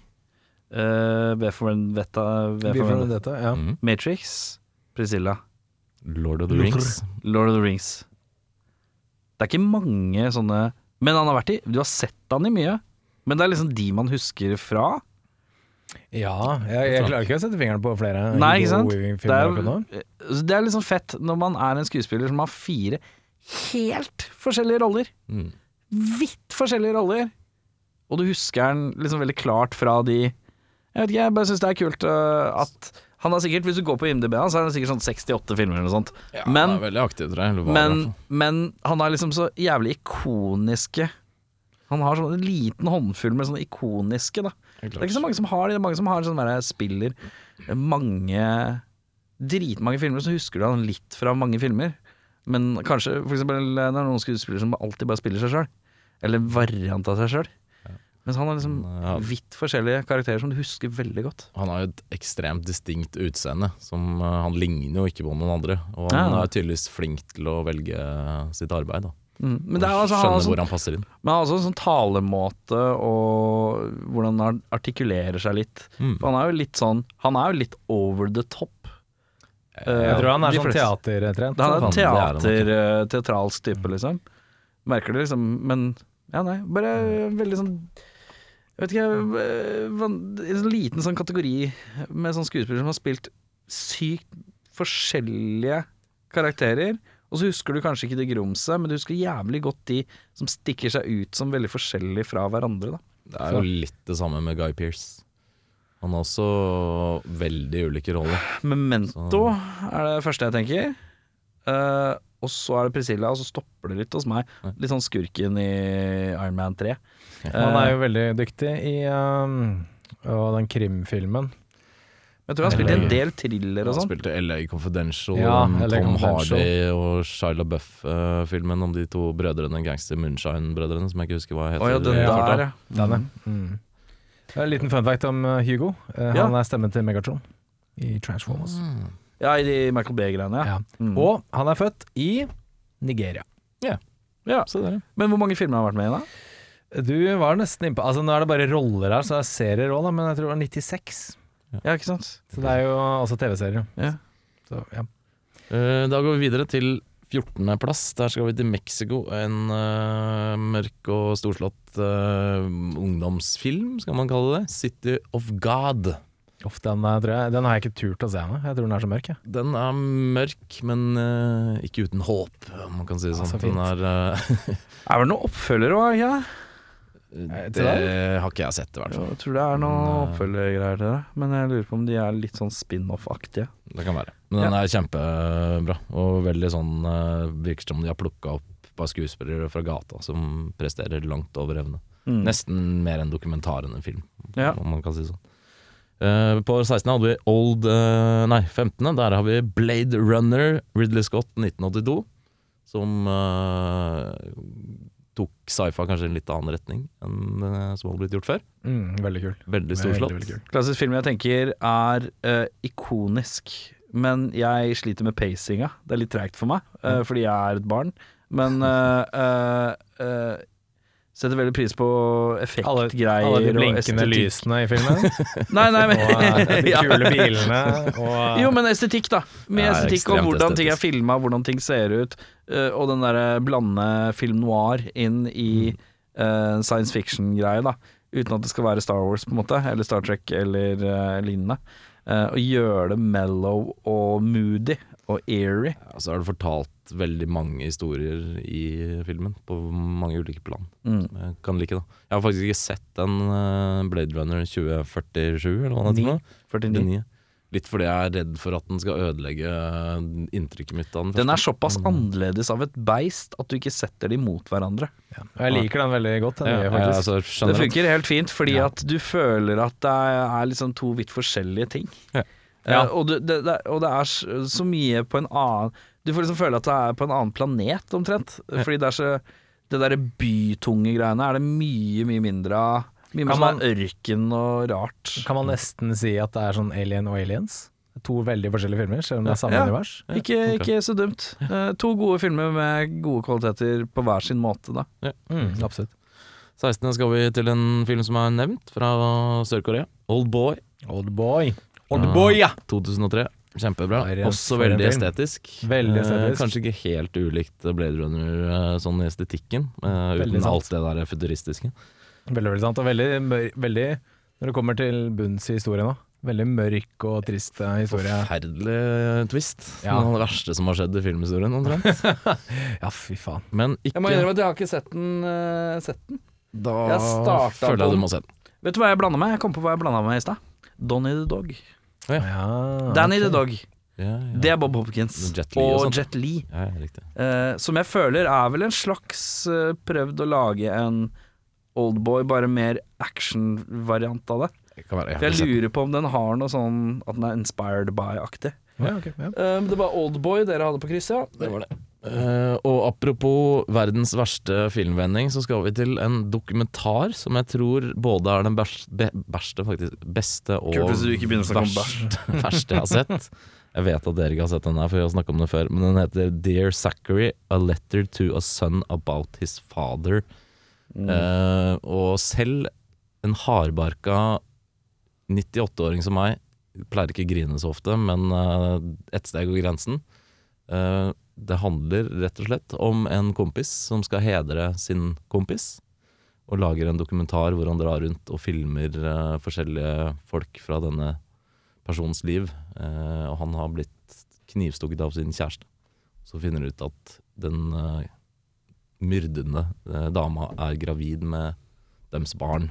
uh, V for Vendetta, V for Vendetta,
ja.
Mm.
Matrix, Priscilla,
Lord of the Rings.
Lord of the Rings. Det er ikke mange sånne Men han har vært i Du har sett han i mye. Men det er liksom de man husker fra.
Ja, jeg, jeg klarer ikke å sette fingeren på flere
Nei, ikke sant? Det
Weaving-filmer
er,
akkurat nå.
så det er liksom fett når man er en skuespiller som har fire helt forskjellige roller.
Mm.
vidt forskjellige roller. Og du husker den liksom veldig klart fra de Jeg vet ikke, jeg bare syns det er kult øh, at han har sikkert, Hvis du går på IMDb, hans, så er det sikkert sånn 68 filmer eller noe sånt.
Ja,
Men-
han er veldig aktiv, tror jeg. eller var i hvert
Men,
fall.
men han har liksom så jævlig ikoniske Han har sånn en liten håndfull med sånne ikoniske, da.
Helt
Det er
klart.
ikke så mange som har det. Det er mange som har sånn derre spiller mange Dritmange filmer, så husker du han litt fra mange filmer. Men kanskje for eksempel det er noen skuespillere som alltid bare spiller seg sjøl. Eller en variant av seg sjøl. Mens han har liksom
Ja.
vidt forskjellige karakterer som du husker veldig godt.
Han har jo et ekstremt distinkt utseende. Som, eh, han ligner jo ikke på noen andre. Og han
Ja.
er tydeligvis flink til å velge eh, sitt arbeid. Da.
Mm. Men det er altså, han,
Skjønner
har sånn,
hvor han passer inn.
men han har også en sånn talemåte og hvordan han artikulerer seg litt.
Mm.
For han er jo litt sånn Han er jo litt over the top. Eh,
Jeg tror han er
De
sånn
fleste-
teatertrent.
Han er en
det er han nok.
teater, eh, teatralsk type, liksom. Merker det, liksom. Men ja, nei. Bare veldig sånn Jeg vet ikke eh, van- En sånn liten sånn kategori med sånn skuespillere som har spilt sykt forskjellige karakterer. Og så husker du kanskje ikke det grumset, men du husker jævlig godt de som stikker seg ut som veldig forskjellige fra hverandre, da.
Det er jo litt det samme med Guy Pearce. Han har også veldig ulike roller.
Memento er det første jeg tenker. Eh, og så er det Priscilla, og så stopper det litt hos meg. Litt sånn skurken i Iron Man Eh, 3.
Han er jo veldig dyktig i um, og den krimfilmen.
Jeg tror han spilte en del thriller
Han
og sånn.
spilte LA Confidential,
Ja,
den
LA
Tom
Confidential.
Hardy og Shia Buff-filmen om de to brødrene, gangster Moonshine-brødrene, som jeg ikke husker hva heter.
Å ja, den
i farta.
der, ja.
Denne. Mm. Det er En liten fun fact om uh, Hugo. Uh,
Ja.
Han er stemmen til Megatron i Transformers.
Ja, i de Michael Bay-greiene, ja.
Ja.
Mm.
Og han er født i Nigeria.
ja.
Se der, ja.
Men hvor mange filmer har han vært med i, da?
Du var nesten innpå Altså Nå er det bare roller her, så det er serier òg, men jeg tror det var 96.
Ja, ikke sant?
Så det er jo også TV-serier.
Ja.
Så, ja.
Eh, Da går vi videre til 14.-plass. Der skal vi til Mexico. En eh, mørk og storslått eh, ungdomsfilm, skal man kalle det. 'City of God'.
Uff, den, eh, tror jeg, den har jeg ikke turt å se ennå. Jeg tror den er så mørk, jeg.
Den er mørk, men eh, ikke uten håp, om man kan si det
Ja,
sånn.
så fint.
Den er,
Er vel noen oppfølgere òg, ikke det?
eh,
Eh, til
det har ikke jeg sett, i hvert fall.
Jo, Jeg tror det er noen
Men, eh,
oppfølgergreier til det. Men jeg lurer på om de er litt sånn spin-off-aktige.
Det kan være. Men den er kjempebra, og veldig sånn eh, Virker som de har plukka opp et par skuespillere fra gata som presterer langt over evne.
Mm.
Nesten mer en dokumentar enn en film,
Ja.
om man kan si det sånn. Eh, på 16. hadde vi Old eh, Nei, 15. Der har vi Blade Runner, Ridley Scott 1982, som eh, tok sci-fi kanskje i en litt annen retning enn eh, som hadde blitt gjort før.
Mm, veldig kul.
Veldig storslått.
Veldig, veldig kul.
Klassisk film jeg tenker er eh, ikonisk, men jeg sliter med pacinga. Det er litt tregt for meg, eh, fordi jeg er et barn. Men eh, eh, eh, setter veldig pris på
Alle,
effektgreier
alle de
og
blinkende
estetikk.
lysene i filmen,
Nei, nei,
og eh,
men,
de
Ja.
kule bilene, og
Jo, men estetikk, da. Med
Ja,
estetikk og
ekstremt
hvordan ting er
estetisk.
filma, hvordan ting ser ut. eh, og den derre blande film noir inn
Mm.
i eh, science fiction-greie, da. Uten at det skal være Star Wars, på en måte. Eller Star Trek eller eh, lignende. Eh, og gjøre det mellow og moody og eerie.
Ja, så Altså, har du fortalt veldig mange historier i filmen, på mange ulike plan.
Mm.
Jeg kan like det. Jeg har faktisk ikke sett den eh, Blade Runner 2047, eller hva den heter. for noe.
49.
49. Litt fordi jeg er redd for at den skal ødelegge eh, inntrykket mitt av den.
Den er
første.
såpass annerledes av et beist at du ikke setter de mot hverandre.
ja. Og jeg liker den veldig godt. Den
ja,
nye,
ja,
faktisk.
altså,
Det
skjønner
funker helt fint, fordi at du føler at det er liksom to vidt forskjellige ting.
Ja.
Ja.
Eh, og, du, det, det, og det er s- så mye på en annen Du får liksom føle at det er på en annen planet, omtrent. Fordi det er så Det derre bytunge greiene er det mye, mye mindre av. Mye mer sånn
Kan man-
ørken og rart.
Kan man nesten si at det er sånn Alien og Aliens? To veldig forskjellige filmer, selv om det er samme
Ja.
univers.
Ikke,
ok.
ikke så dumt. Eh, to gode filmer med gode kvaliteter på hver sin måte, da.
Mm, absolutt.
jeg. 16. skal vi til en film som er nevnt, fra Sør-Korea. Old Boy
Oldboy.
Oldboy, 2003. Kjempebra.
For en-
Også
for en
veldig
film.
estetisk.
Veldig
Eh,
estetisk.
kanskje ikke helt ulikt Blade Runner eh, sånn i estetikken, eh,
Veldig
uten
sant.
alt det der futuristiske.
Veldig, veldig sant. Og veldig, mør- veldig Når det kommer til bunns i historien nå. Veldig mørk og trist eh, historie.
Forferdelig eh, twist.
Ja.
Noe av det verste som har skjedd i filmhistorien, omtrent.
Ja, fy faen.
Men ikke
Jeg må innrømme at jeg har ikke sett den. eh, sett den.
Da
jeg starta
føler
på
jeg
den.
du må se den.
Vet du hva jeg blanda med? Jeg kom på hva jeg blanda med i stad. Donny the Dog.
Ja,
Danny the
ok.
Dog.
Ja, Ah, ja.
Det er Bob Hopkins
Jet Li og
og
sånt.
Jet Li.
Ja, ja, riktig.
eh, som jeg føler er vel en slags eh, prøvd å lage en oldboy, bare mer action-variant av det.
Det kan være. Jeg
For
har ikke
jeg
sett den.
lurer på om den har noe sånn at den er inspired by-aktig.
Ja, ok, ja.
Eh, det var oldboy dere hadde på krysset, ja.
Det var det. Eh, og apropos verdens verste filmvending, så skal vi til en dokumentar som jeg tror både er den bæsj- be- bæsjte, faktisk, beste og
Kult hvis du ikke begynner å snakke om
verst- verste jeg har sett. Jeg vet at dere ikke har sett den her, for vi har snakket om den før. Men den heter 'Dear Zachary, a letter to a son about his father'.
Mm.
Eh, og selv en hardbarka 98-åring som meg pleier ikke å grine så ofte, men eh, ett steg over grensen. Eh, det handler rett og slett om en kompis som skal hedre sin kompis, og lager en dokumentar hvor han drar rundt og filmer eh, forskjellige folk fra denne persons liv. Eh, og han har blitt knivstukket av sin kjæreste. Så finner han ut at den eh, myrdende eh, dama er gravid med deres barn.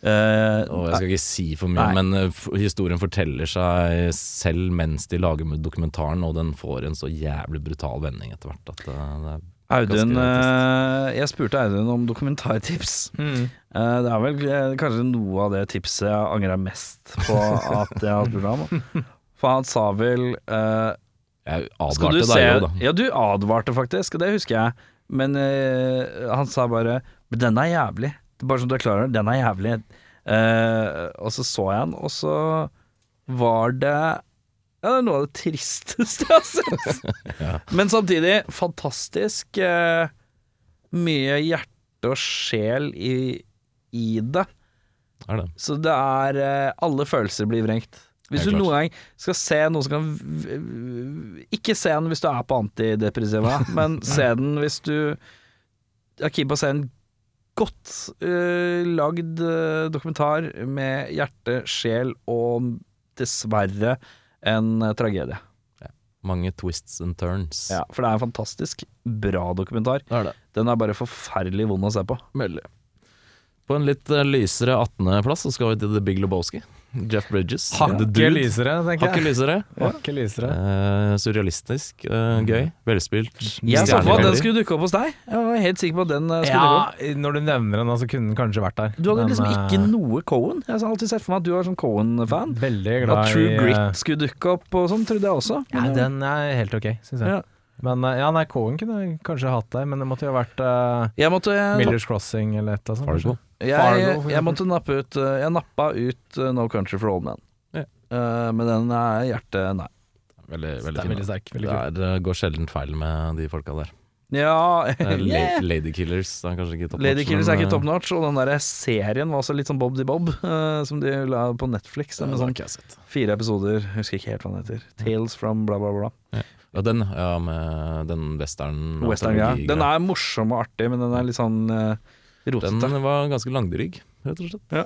Eh,
Og jeg skal ikke si for mye,
Nei.
men eh, f- historien forteller seg selv mens de lager med dokumentaren, og den får en så jævlig brutal vending etter hvert at eh, det er
Audun,
ganske
eh, jeg spurte Audun om dokumentartips.
Mm.
Eh, Det er vel eh, kanskje noe av det tipset jeg angrer mest på at jeg har spurt ham. For han sa vel eh,
Jeg
Skal du
advarte
se
deg jo, da.
Ja, du advarte faktisk, og det husker jeg. Men eh, han sa bare Men den er jævlig. Det er Bare som du er klar over, den er jævlig. Eh, og så så jeg den, og så var det Ja, det er noe av det tristeste jeg har sett. Men samtidig fantastisk. eh, mye hjerte og sjel i, i det.
Er det.
Så det er eh, Alle følelser blir vrengt. Hvis du
Helt klart.
noen gang skal se noe som kan v- v- Ikke se den hvis du er på antidepressiva, men se den hvis du er keen på å se en godt eh, lagd eh, dokumentar med hjerte, sjel og dessverre en eh, tragedie.
Mange twists and turns.
Ja, for det er en fantastisk bra dokumentar.
Det er det.
Den er bare forferdelig vond å se på.
Veldig. På en litt eh, lysere 18.-plass så skal vi til The Big Lebowski. Jeff Bridges. The
Hakket
Dude.
lysere, tenker
Hakket
jeg.
lysere.
Hakket lysere.
Eh, surrealistisk. eh, gøy. Velspilt.
Mm. Jeg så på at den
Stjernemelodi.
skulle dukke opp hos deg. Jeg var helt sikker på at den eh, skulle dukke opp.
Ja, når du nevner den, så kunne den kanskje vært der.
Du hadde
Men,
liksom ikke
eh,
noe Cohen. Jeg har alltid sett for meg at du var sånn Cohen-fan.
Veldig glad
At True
i, eh,
Grit skulle dukke opp og sånn, trodde jeg også.
Ja, den er helt ok, syns jeg.
Ja.
Men eh, ja, nei, Cohen kunne jeg kanskje hatt der, men det måtte jo ha vært eh,
Jeg måtte, jeg,
Millers Crossing eller et eller annet.
Fargo.
sånt,
jeg,
Fargo, for
jeg måtte nappe ut eh, Jeg nappa ut eh, No Country for Old Men.
Ja.
Eh, men den er hjertet nei.
Veldig,
kanskje. Den
veldig
er
fin.
veldig
da.
sterk. Veldig
Det
kul.
er, eh, går sjelden feil med de folka der.
Ja,
Det er la
yeah.
Lady Killers det er kanskje ikke top
Lady
notch,
Killers
men,
er ikke
eh,
top notch, og den der serien var også litt sånn Bob de Bob, eh, som de la på Netflix. Den
det har
med sånn
ikke jeg sett.
fire episoder, husker ikke helt hva den heter. Tales from bla, bla, bla.
Ja, den, ja, med den western
Western, ja.
antologi-greia.
Den er morsom og artig, men den er litt sånn eh, rotete.
Den var ganske langdrygg, rett og slett.
Ja.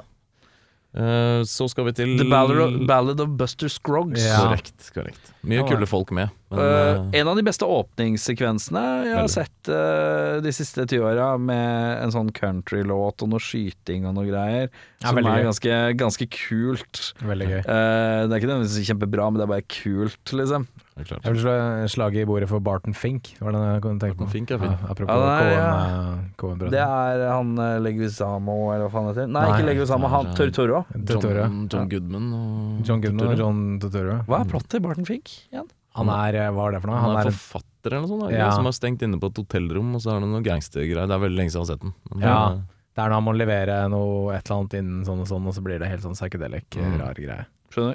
Eh, så skal vi til
The Ballad of, Ballad of Buster Scroggs.
Mm. Ja.
Korrekt. korrekt Mye
Ja, ja.
kule folk med. Men,
Eh,
eh,
en av de beste åpningssekvensene jeg har
Veldig.
sett eh, de siste ti åra, med en sånn countrylåt og noe skyting og noe greier,
Ja,
som
veldig
er
gøy.
ganske, ganske kult.
Veldig gøy.
Eh, det er ikke nødvendigvis kjempebra, men det er bare kult, liksom.
det er klart.
Jeg vil slå slaget i bordet for Barton Fink. Var det den jeg kunne tenke på?
Barton Fink er fin.
Ja, apropos
Ja,
eh,
den er-
Cohen,
Det er han eh, Leguizamo, eller hva faen heter han? Nei,
Nei,
ikke Leguizamo, han
det er-
Tortoro.
Totoro.
John, John Goodman og
John Goodman og
Totoro.
John Totoro.
Hva er plottet i Barton Fink igjen?
Han er eh, Hva er det for noe?
Han er
Han er,
forfatter eller noe sånt, da,
Ja.
som er stengt inne på et hotellrom, og så er det noen gangstergreier. Det er veldig lenge siden jeg har sett den. Men,
ja,
eh,
det er når han må levere noe et eller annet innen sånn og sånn, og så blir det helt sånn psychedelic,
Mm.
rar greie.
Skjønner.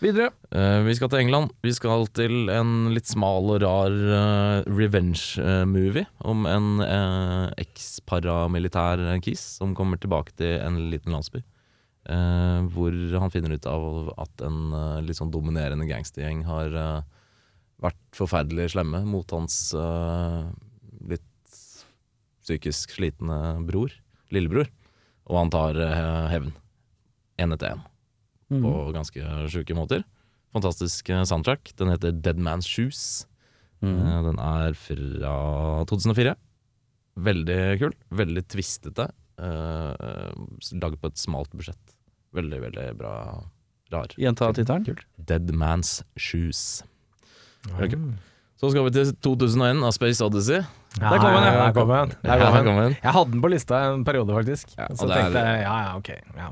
Videre.
Eh, vi skal til England. Vi skal til en litt smal og rar eh, revenge-movie om en uh, eks-paramilitær eh, kis som kommer tilbake til en liten landsby. eh, hvor han finner ut av at en eh, litt sånn dominerende gangstergjeng har eh, vært forferdelig slemme mot hans eh, litt psykisk slitne bror, lillebror. Og han tar eh, hevn. Én etter én,
Mm.
på ganske sjuke måter. Fantastisk eh, soundtrack. Den heter Dead Man's Shoes.
Mm.
Mm.
Eh, Den er fra 2004. Veldig kul. Veldig tvistete. eh, eh, Laget på et smalt budsjett. Veldig, veldig bra. Rar.
Gjenta tittelen.
Dead Man's Shoes. Ok. Så skal vi til 2001 av Space Odyssey.
Der kom han, ja. Der kom han. Der kom
Ja,
han.
kom igjen.
Jeg hadde den på lista en periode, faktisk.
Ja,
så
og det er-
tenkte jeg ja ja, ok. Ja.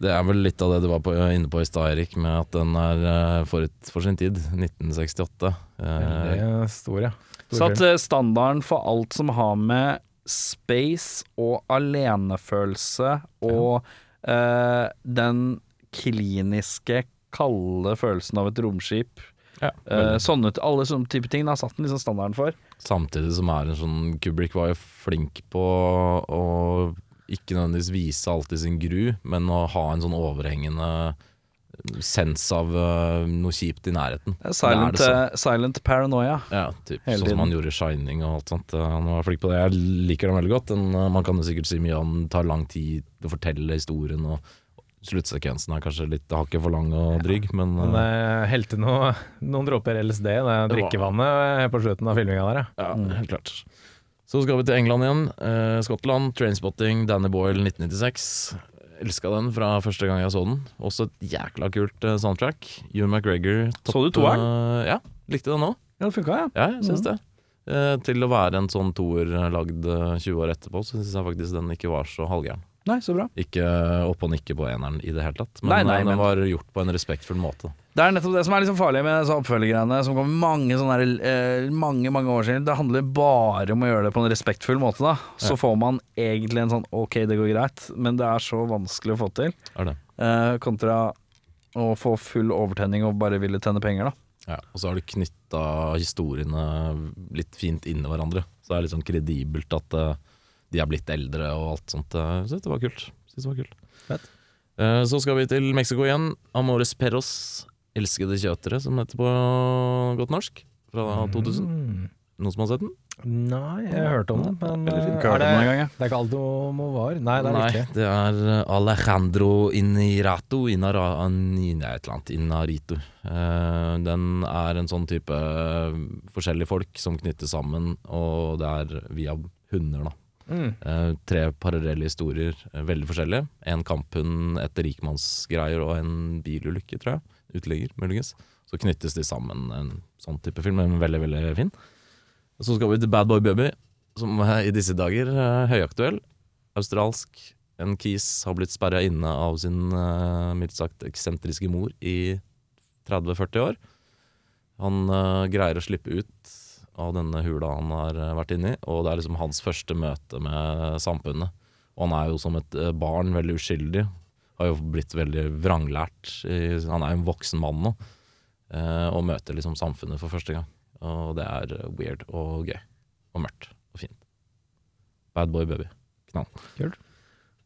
Det er vel litt av det du var på, inne på i stad, Erik, med at den er eh, forut for sin tid. 1968. Eh,
Veldig stor, ja. Stor
Satt
film.
eh, standarden for alt som har med space og alenefølelse og eh, den kliniske, kalde følelsen av et romskip.
ja,
Eh, sånne alle sånne type ting da, satt den liksom standarden for.
Samtidig som er en sånn Kubrick var jo flink på å ikke nødvendigvis vise alltid sin gru, men å ha en sånn overhengende sens av eh, noe kjipt i nærheten.
Det er Silent,
Det er det
eh, silent paranoia.
Ja, typ,
Hele
Sånn
tiden.
som han gjorde i 'Shining' og alt sånt. Eh, Han var flink på det. Jeg liker den veldig godt. Den, eh, man kan jo sikkert si mye om den tar lang tid å fortelle historien, og sluttsekvensen er kanskje litt hakket for lang og dryg, men
Han
eh,
eh, helte noe, noen dråper LSD i det drikkevannet eh, på slutten av filminga der, ja.
Ja,
Mm.
helt klart. Så skal vi til England igjen. Eh, Skottland, Trainspotting, Danny Boyle 1996. Elska den fra første gang jeg så den. Også et jækla kult eh, soundtrack. Hugh McGregor.
Så du toeren?
eh, ja, likte den òg.
Ja, det funka, ja.
Ja, jeg syns det. Eh, til å være en sånn toer eh, lagd eh, 20 år etterpå, så syns jeg faktisk den ikke var så halvgæren.
Nei, så bra.
Ikke eh, opp og nikke på eneren i det hele tatt, men
Nei, nei,
eh, den
men-
var gjort på en respektfull måte.
Det er nettopp det som er liksom farlig med disse oppfølgergreiene som kom mange, sånne her, eh, mange mange år siden. Det handler bare om å gjøre det på en respektfull måte. da Så
Ja.
får man egentlig en sånn OK, det går greit, men det er så vanskelig å få til.
Er det.
Eh, kontra å få full overtenning og bare ville tjene penger, da.
Ja, og så har du knytta historiene litt fint inni hverandre. Så det er litt sånn kredibelt at eh, de er blitt eldre og alt sånt. Eh, Jeg synes det var kult. Synes det var kult.
Fett.
Eh, Så skal vi til Mexico igjen. Amores Perros, 'Elskede kjøtere', som heter på godt norsk. Fra 2000.
Mm.
Noen som har sett den?
Nei, jeg har hørt om det, men
Veldig fint.
eh,
Hørt om
er det,
den en gang, ja.
det er ikke Aldo Movar? Nei, det er det
Nei,
ikke.
det er eh, Alejandro Inirato Inara, Inin- et eller annet, Inarito. Eh, Den er en sånn type eh, forskjellige folk som knyttes sammen, og det er via hunder, da.
Mm.
Eh, tre parallelle historier, eh, veldig forskjellige. En kamphund etter rikmannsgreier og en bilulykke, tror jeg. Uteligger, muligens. Så knyttes de sammen. En sånn type film, men veldig, veldig fin. Så skal vi til Bad Boy Baby, som eh, i disse dager er høyaktuell. Australsk. En kis har blitt sperra inne av sin eh, mildt sagt eksentriske mor i 30-40 år. Han eh, greier å slippe ut av denne hula han har eh, vært inni, og det er liksom hans første møte med samfunnet. Og han er jo som et eh, barn, veldig uskyldig. Har jo blitt veldig vranglært. i- Han er jo en voksen mann nå, eh, og møter liksom samfunnet for første gang. Og det er eh, weird og gøy. Og mørkt og fint. Bad boy baby. Knall.
Kult.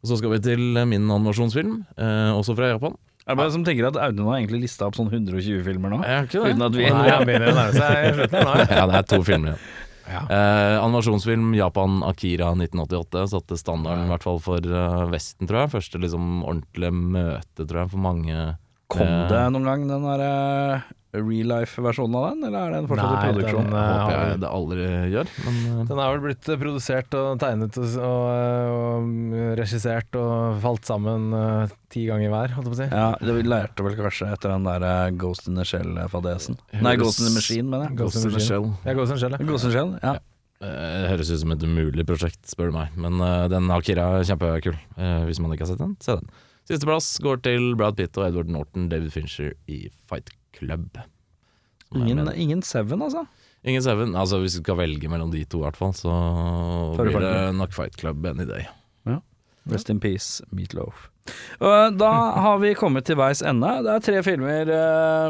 Og så skal vi til eh, min animasjonsfilm, eh, også fra Japan.
Er det bare som tenker at Audun har egentlig lista opp sånn 120 filmer nå?
Er ikke
Uten at vi
Nei, han begynner å nærme seg slutten her nå. ja.
ja, det er to filmer igjen.
Ja.
Eh, animasjonsfilm Japan Akira 1988 satte standarden i hvert fall for eh, Vesten, tror jeg. Første liksom ordentlige møte, tror jeg, for mange.
Kom det noen gang den der eh, real life-versjonen av den, eller er den fortsatt
Nei,
i produksjon?
den, eh,
Håper
har-
jeg det aldri gjør, men eh,
Den er vel blitt eh, produsert og tegnet og, eh, og, og regissert og falt sammen eh, ti ganger hver, holdt jeg på å si.
Ja, det vi lærte vel kanskje etter den der eh, Ghost in the Shell-fadesen. Nei,
Høres-
Ghost in the Machine, mener jeg.
Ghost in the Shell. Jeg går som skjell, jeg.
Ghost in the Shell, ja.
Eh, høres ut som et umulig prosjekt, spør du meg. Men eh, den Akira er kjempekul. Eh, hvis man ikke har sett den, se den. Sisteplass går til Brad Pitt og Edward Norton, David Fincher i Fight Club. Som er
Ingen,
med.
ingen Seven, altså.
Ingen Seven. Altså, hvis du skal velge mellom de to, i hvert fall, så
Tar du
blir
Fight Club?
det nok Fight Club any day.
Rest in peace, Meatloaf. Og eh, Da har vi kommet til veis ende. Det er tre filmer eh,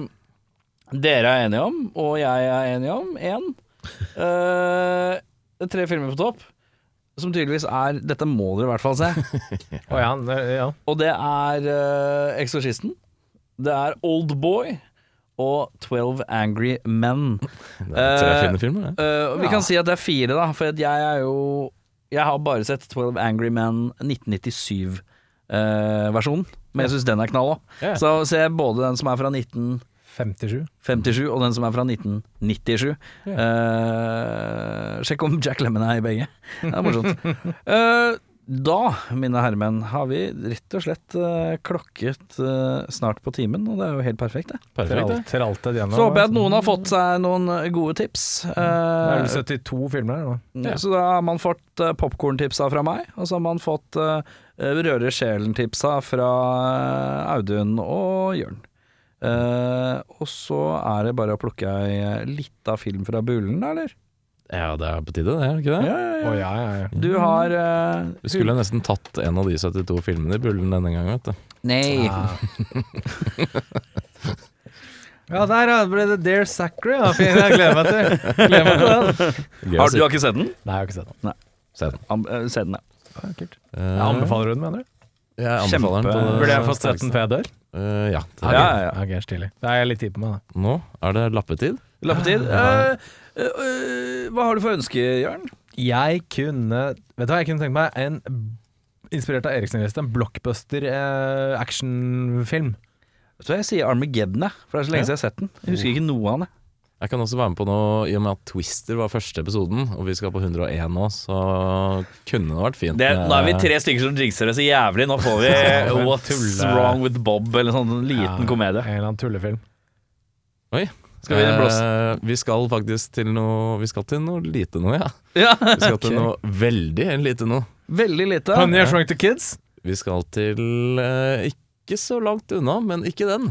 dere er enige om, og jeg er enig om. Én. Eh, det er tre filmer på topp, som tydeligvis er Dette må dere i hvert fall se.
Å ja, han- ja.
Og det er eh, Eksorsisten, det er Oldboy og Twelve Angry Men.
Det er tre
Eh,
fine filmer, det.
Eh, vi
Ja.
kan si at det er fire, da, for at jeg er jo Jeg har bare sett 12 Angry Men 1997-versjonen, men jeg syns den er knall òg.
Ja.
Så ser jeg både den som er fra 1957,
57.
og den som er fra 1997. Eh, sjekk om Jack Lemmon er i begge. Det er morsomt. Eh, da, mine herremenn, har vi rett og slett eh, klokket eh, snart på timen, og det er jo helt perfekt, det.
Perfekt, det.
Tral- Traltet gjennom.
Så håper jeg at noen har fått seg noen gode tips.
Det er
Uh,
vel 72 filmer her nå.
Ja.
Så da har man fått uh, popkorntipsa fra meg, og så har man fått uh, Røre sjelen-tipsa fra eh, Audun og Jørn. Eh, og så er det bare å plukke ei lita film fra bulen, da, eller?
Ja, det er på tide, det. er det ikke det?
Å ja, ja, ja.
Du har eh,
Vi skulle nesten tatt en av de 72 filmene i Bullen denne gangen, vet du.
Nei.
Ja, der ja, ble det Dare Sackery. Ja, fint, jeg gleder meg til Gleder meg til den.
Gøy å
Har,
si.
du har ikke sett den?
Nei, jeg har ikke sett den.
Se den.
Am- eh, Se den, ja.
Eh,
Jeg anbefaler du den, mener du?
jeg anbefaler den. på
Kjempe-
det
Burde jeg fått sett
sterkeste.
den før jeg dør?
Eh, ja. det er
ja,
gøy.
ja, ja.
Ok, stilig. Da er jeg litt tid på meg, da.
Nå er det lappetid.
Lappetid. Eh, eh, eh, hva har du for ønske, Jørn?
Jeg kunne Vet du hva, jeg kunne tenkt meg en Inspirert av Eriksen-lista, en blockbuster eh, actionfilm.
Vet du hva, Jeg sier Armageddon, jeg, for det er så lenge siden jeg har sett den. Jeg husker ikke noe av den. jeg.
Jeg kan også være med på noe i og med at Twister var første episoden, og vi skal på 101 nå, så kunne det vært fint.
Det,
med-
nå er vi tre stykker som jinxer det så jævlig. Nå får vi
for en
What's
tulle.
Wrong With Bob, eller sånn en liten
Ja,
komedie.
En eller annen tullefilm.
Oi.
Skal vi blåse?
Eh, vi skal faktisk til noe Vi skal til noe lite noe, ja.
Ja,
Vi skal til noe veldig lite noe.
Veldig lite.
Honey, I Shrunk the Kids.
Vi skal til eh, ikke så langt unna, men ikke den.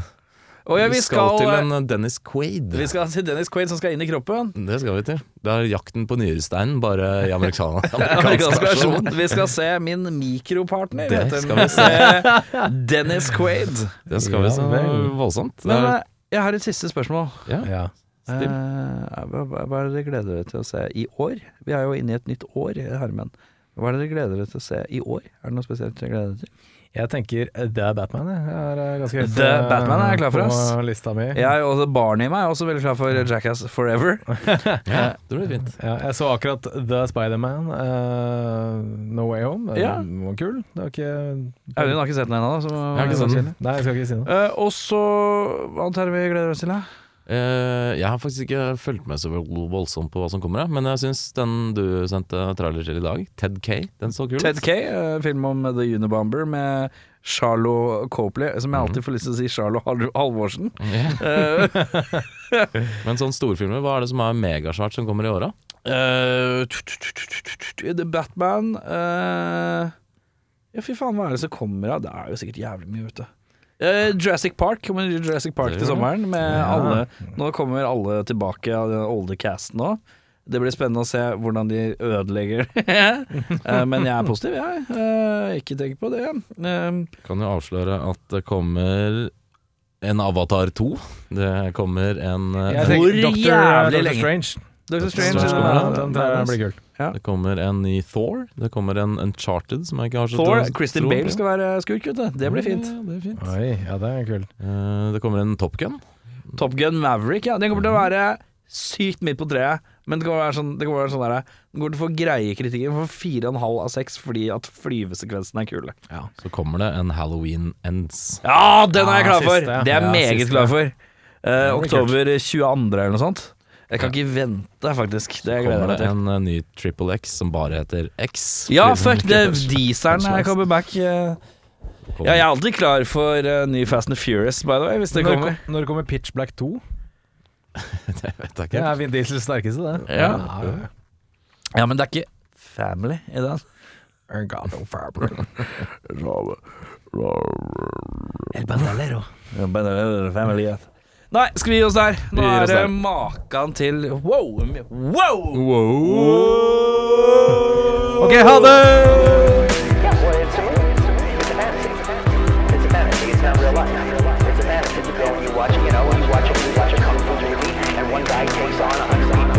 Og ja,
vi,
vi
skal, til
skal,
en eh, Dennis Quaid.
vi skal til Dennis Quaid som skal inn i kroppen.
Det skal vi til. Det er Jakten på nyresteinen, bare i amerikan-
Amerikansk
amerikansk
versjon.
versjon.
Vi skal se min mikropartner.
Det
heter
skal vi
Dennis Quaid.
Det skal vi så
Ja vel.
voldsomt. Det
Men
er,
eh, jeg har et siste spørsmål.
ja.
Ja.
Eh, hva hva- hva er det dere gleder dere til å se i år? Vi er jo inne i et nytt år, herremenn. Hva er det dere gleder dere til å se i år? Er det noe spesielt dere gleder dere til?
Jeg tenker The Batman, jeg. jeg er eh, ganske høyt
The
eh,
Batman er jeg klar for, ass.
På lista mi. Ja.
Jeg og barnet i meg er også veldig klar for Jackass Forever.
Ja, det blir fint.
jeg så akkurat The Spiderman, uh, No Way Home.
Ja.
Den var kul. Det var ikke
Audun har ikke sånn? sett den ennå. da, så-
har ikke sett den.
Nei, jeg skal ikke si noe.
Eh, og så Hva annet er det vi gleder oss til? da?
Eh, jeg har faktisk ikke fulgt med så vel- voldsomt på hva som kommer, jeg, men jeg syns den du sendte trailer til i dag, Ted K, den så kul ut.
Ted K, eh, film om The Unibomber med Charlo Copley, som jeg
Mhm.
alltid får lyst til å si Charlo Hal- Halvorsen.
Ja.
Eh,
Men sånne sånn storfilmer, hva er det som er megasvært som kommer i åra?
eh, tut, tut, tut, tut, tut, tut, The Batman eh, Ja, fy faen, hva er det som kommer av? Det er jo sikkert jævlig mye, vet du. Eh, Jurassic Park kommer det Jurassic Park
Det
til
gjør det.
sommeren. Med alle, nå kommer alle tilbake av den olde casten nå. Det blir spennende å se hvordan de ødelegger Eh, Men jeg er positiv, jeg. Eh, Ikke tenk på det. Eh,
Kan jo avsløre at det kommer en Avatar 2. Det kommer en eh,
Jeg
Hvor
tenker Dr.
jævlig
Dr.
lenge?
Strange.
Doctor
Strange
Strange eh,
kommer
ja,
da,
ja,
Den
ja,
der
ja.
blir kul.
Det kommer en ny Thor. Det kommer en Uncharted som jeg ikke har så
Thor,
tro-
Christian
tro på.
Bale skal være skurk, vet du. Det blir fint.
Ja, det, er fint.
Oi, ja, det er kult.
Eh, det kommer en Top Gun.
Top Gun Maverick, ja. Den kommer til å være sykt midt på treet. Men det kommer til å være sånn, det kommer til å være sånn der, den kommer til å få greie kritikken for 4,5 av 6 fordi at flyvesekvensene er kule.
Så kommer det en Halloween Ends.
Ja, den er jeg
Ja,
klar for!
siste.
Det er jeg
Ja,
meget
siste.
klar for. Eh,
Det blir kult.
oktober 22. eller noe sånt. Jeg kan ikke vente, faktisk. Det gleder jeg
Kommer
meg
det
til.
en eh, ny Triple X som bare heter X?
Ja,
fordi den
fuck
ikke
det.
først
Dieselen er
Franchise.
coming back. eh.
kom.
Ja, jeg er alltid klar for eh, ny Fast and Furious, by the way, hvis det
når,
kommer.
kom- når kommer Pitch Black 2?
det vet jeg
Det
ikke.
er Vin Diesels sterkeste, det.
Ja. Ja, men det er ikke family i den.
Ergado Faber.
Nei, skal vi gi oss der? Nå
Vi gir
er
oss
det
der.
makan til wow. Wow!
Ok, ha det!
Yeah, well, it's a movie. It's a fantasy. It's a fantasy. It's not real life. It's a fantasy. You go and you watch, you know, you watch a, you watch a kung fu movie, and one guy takes on a hundred,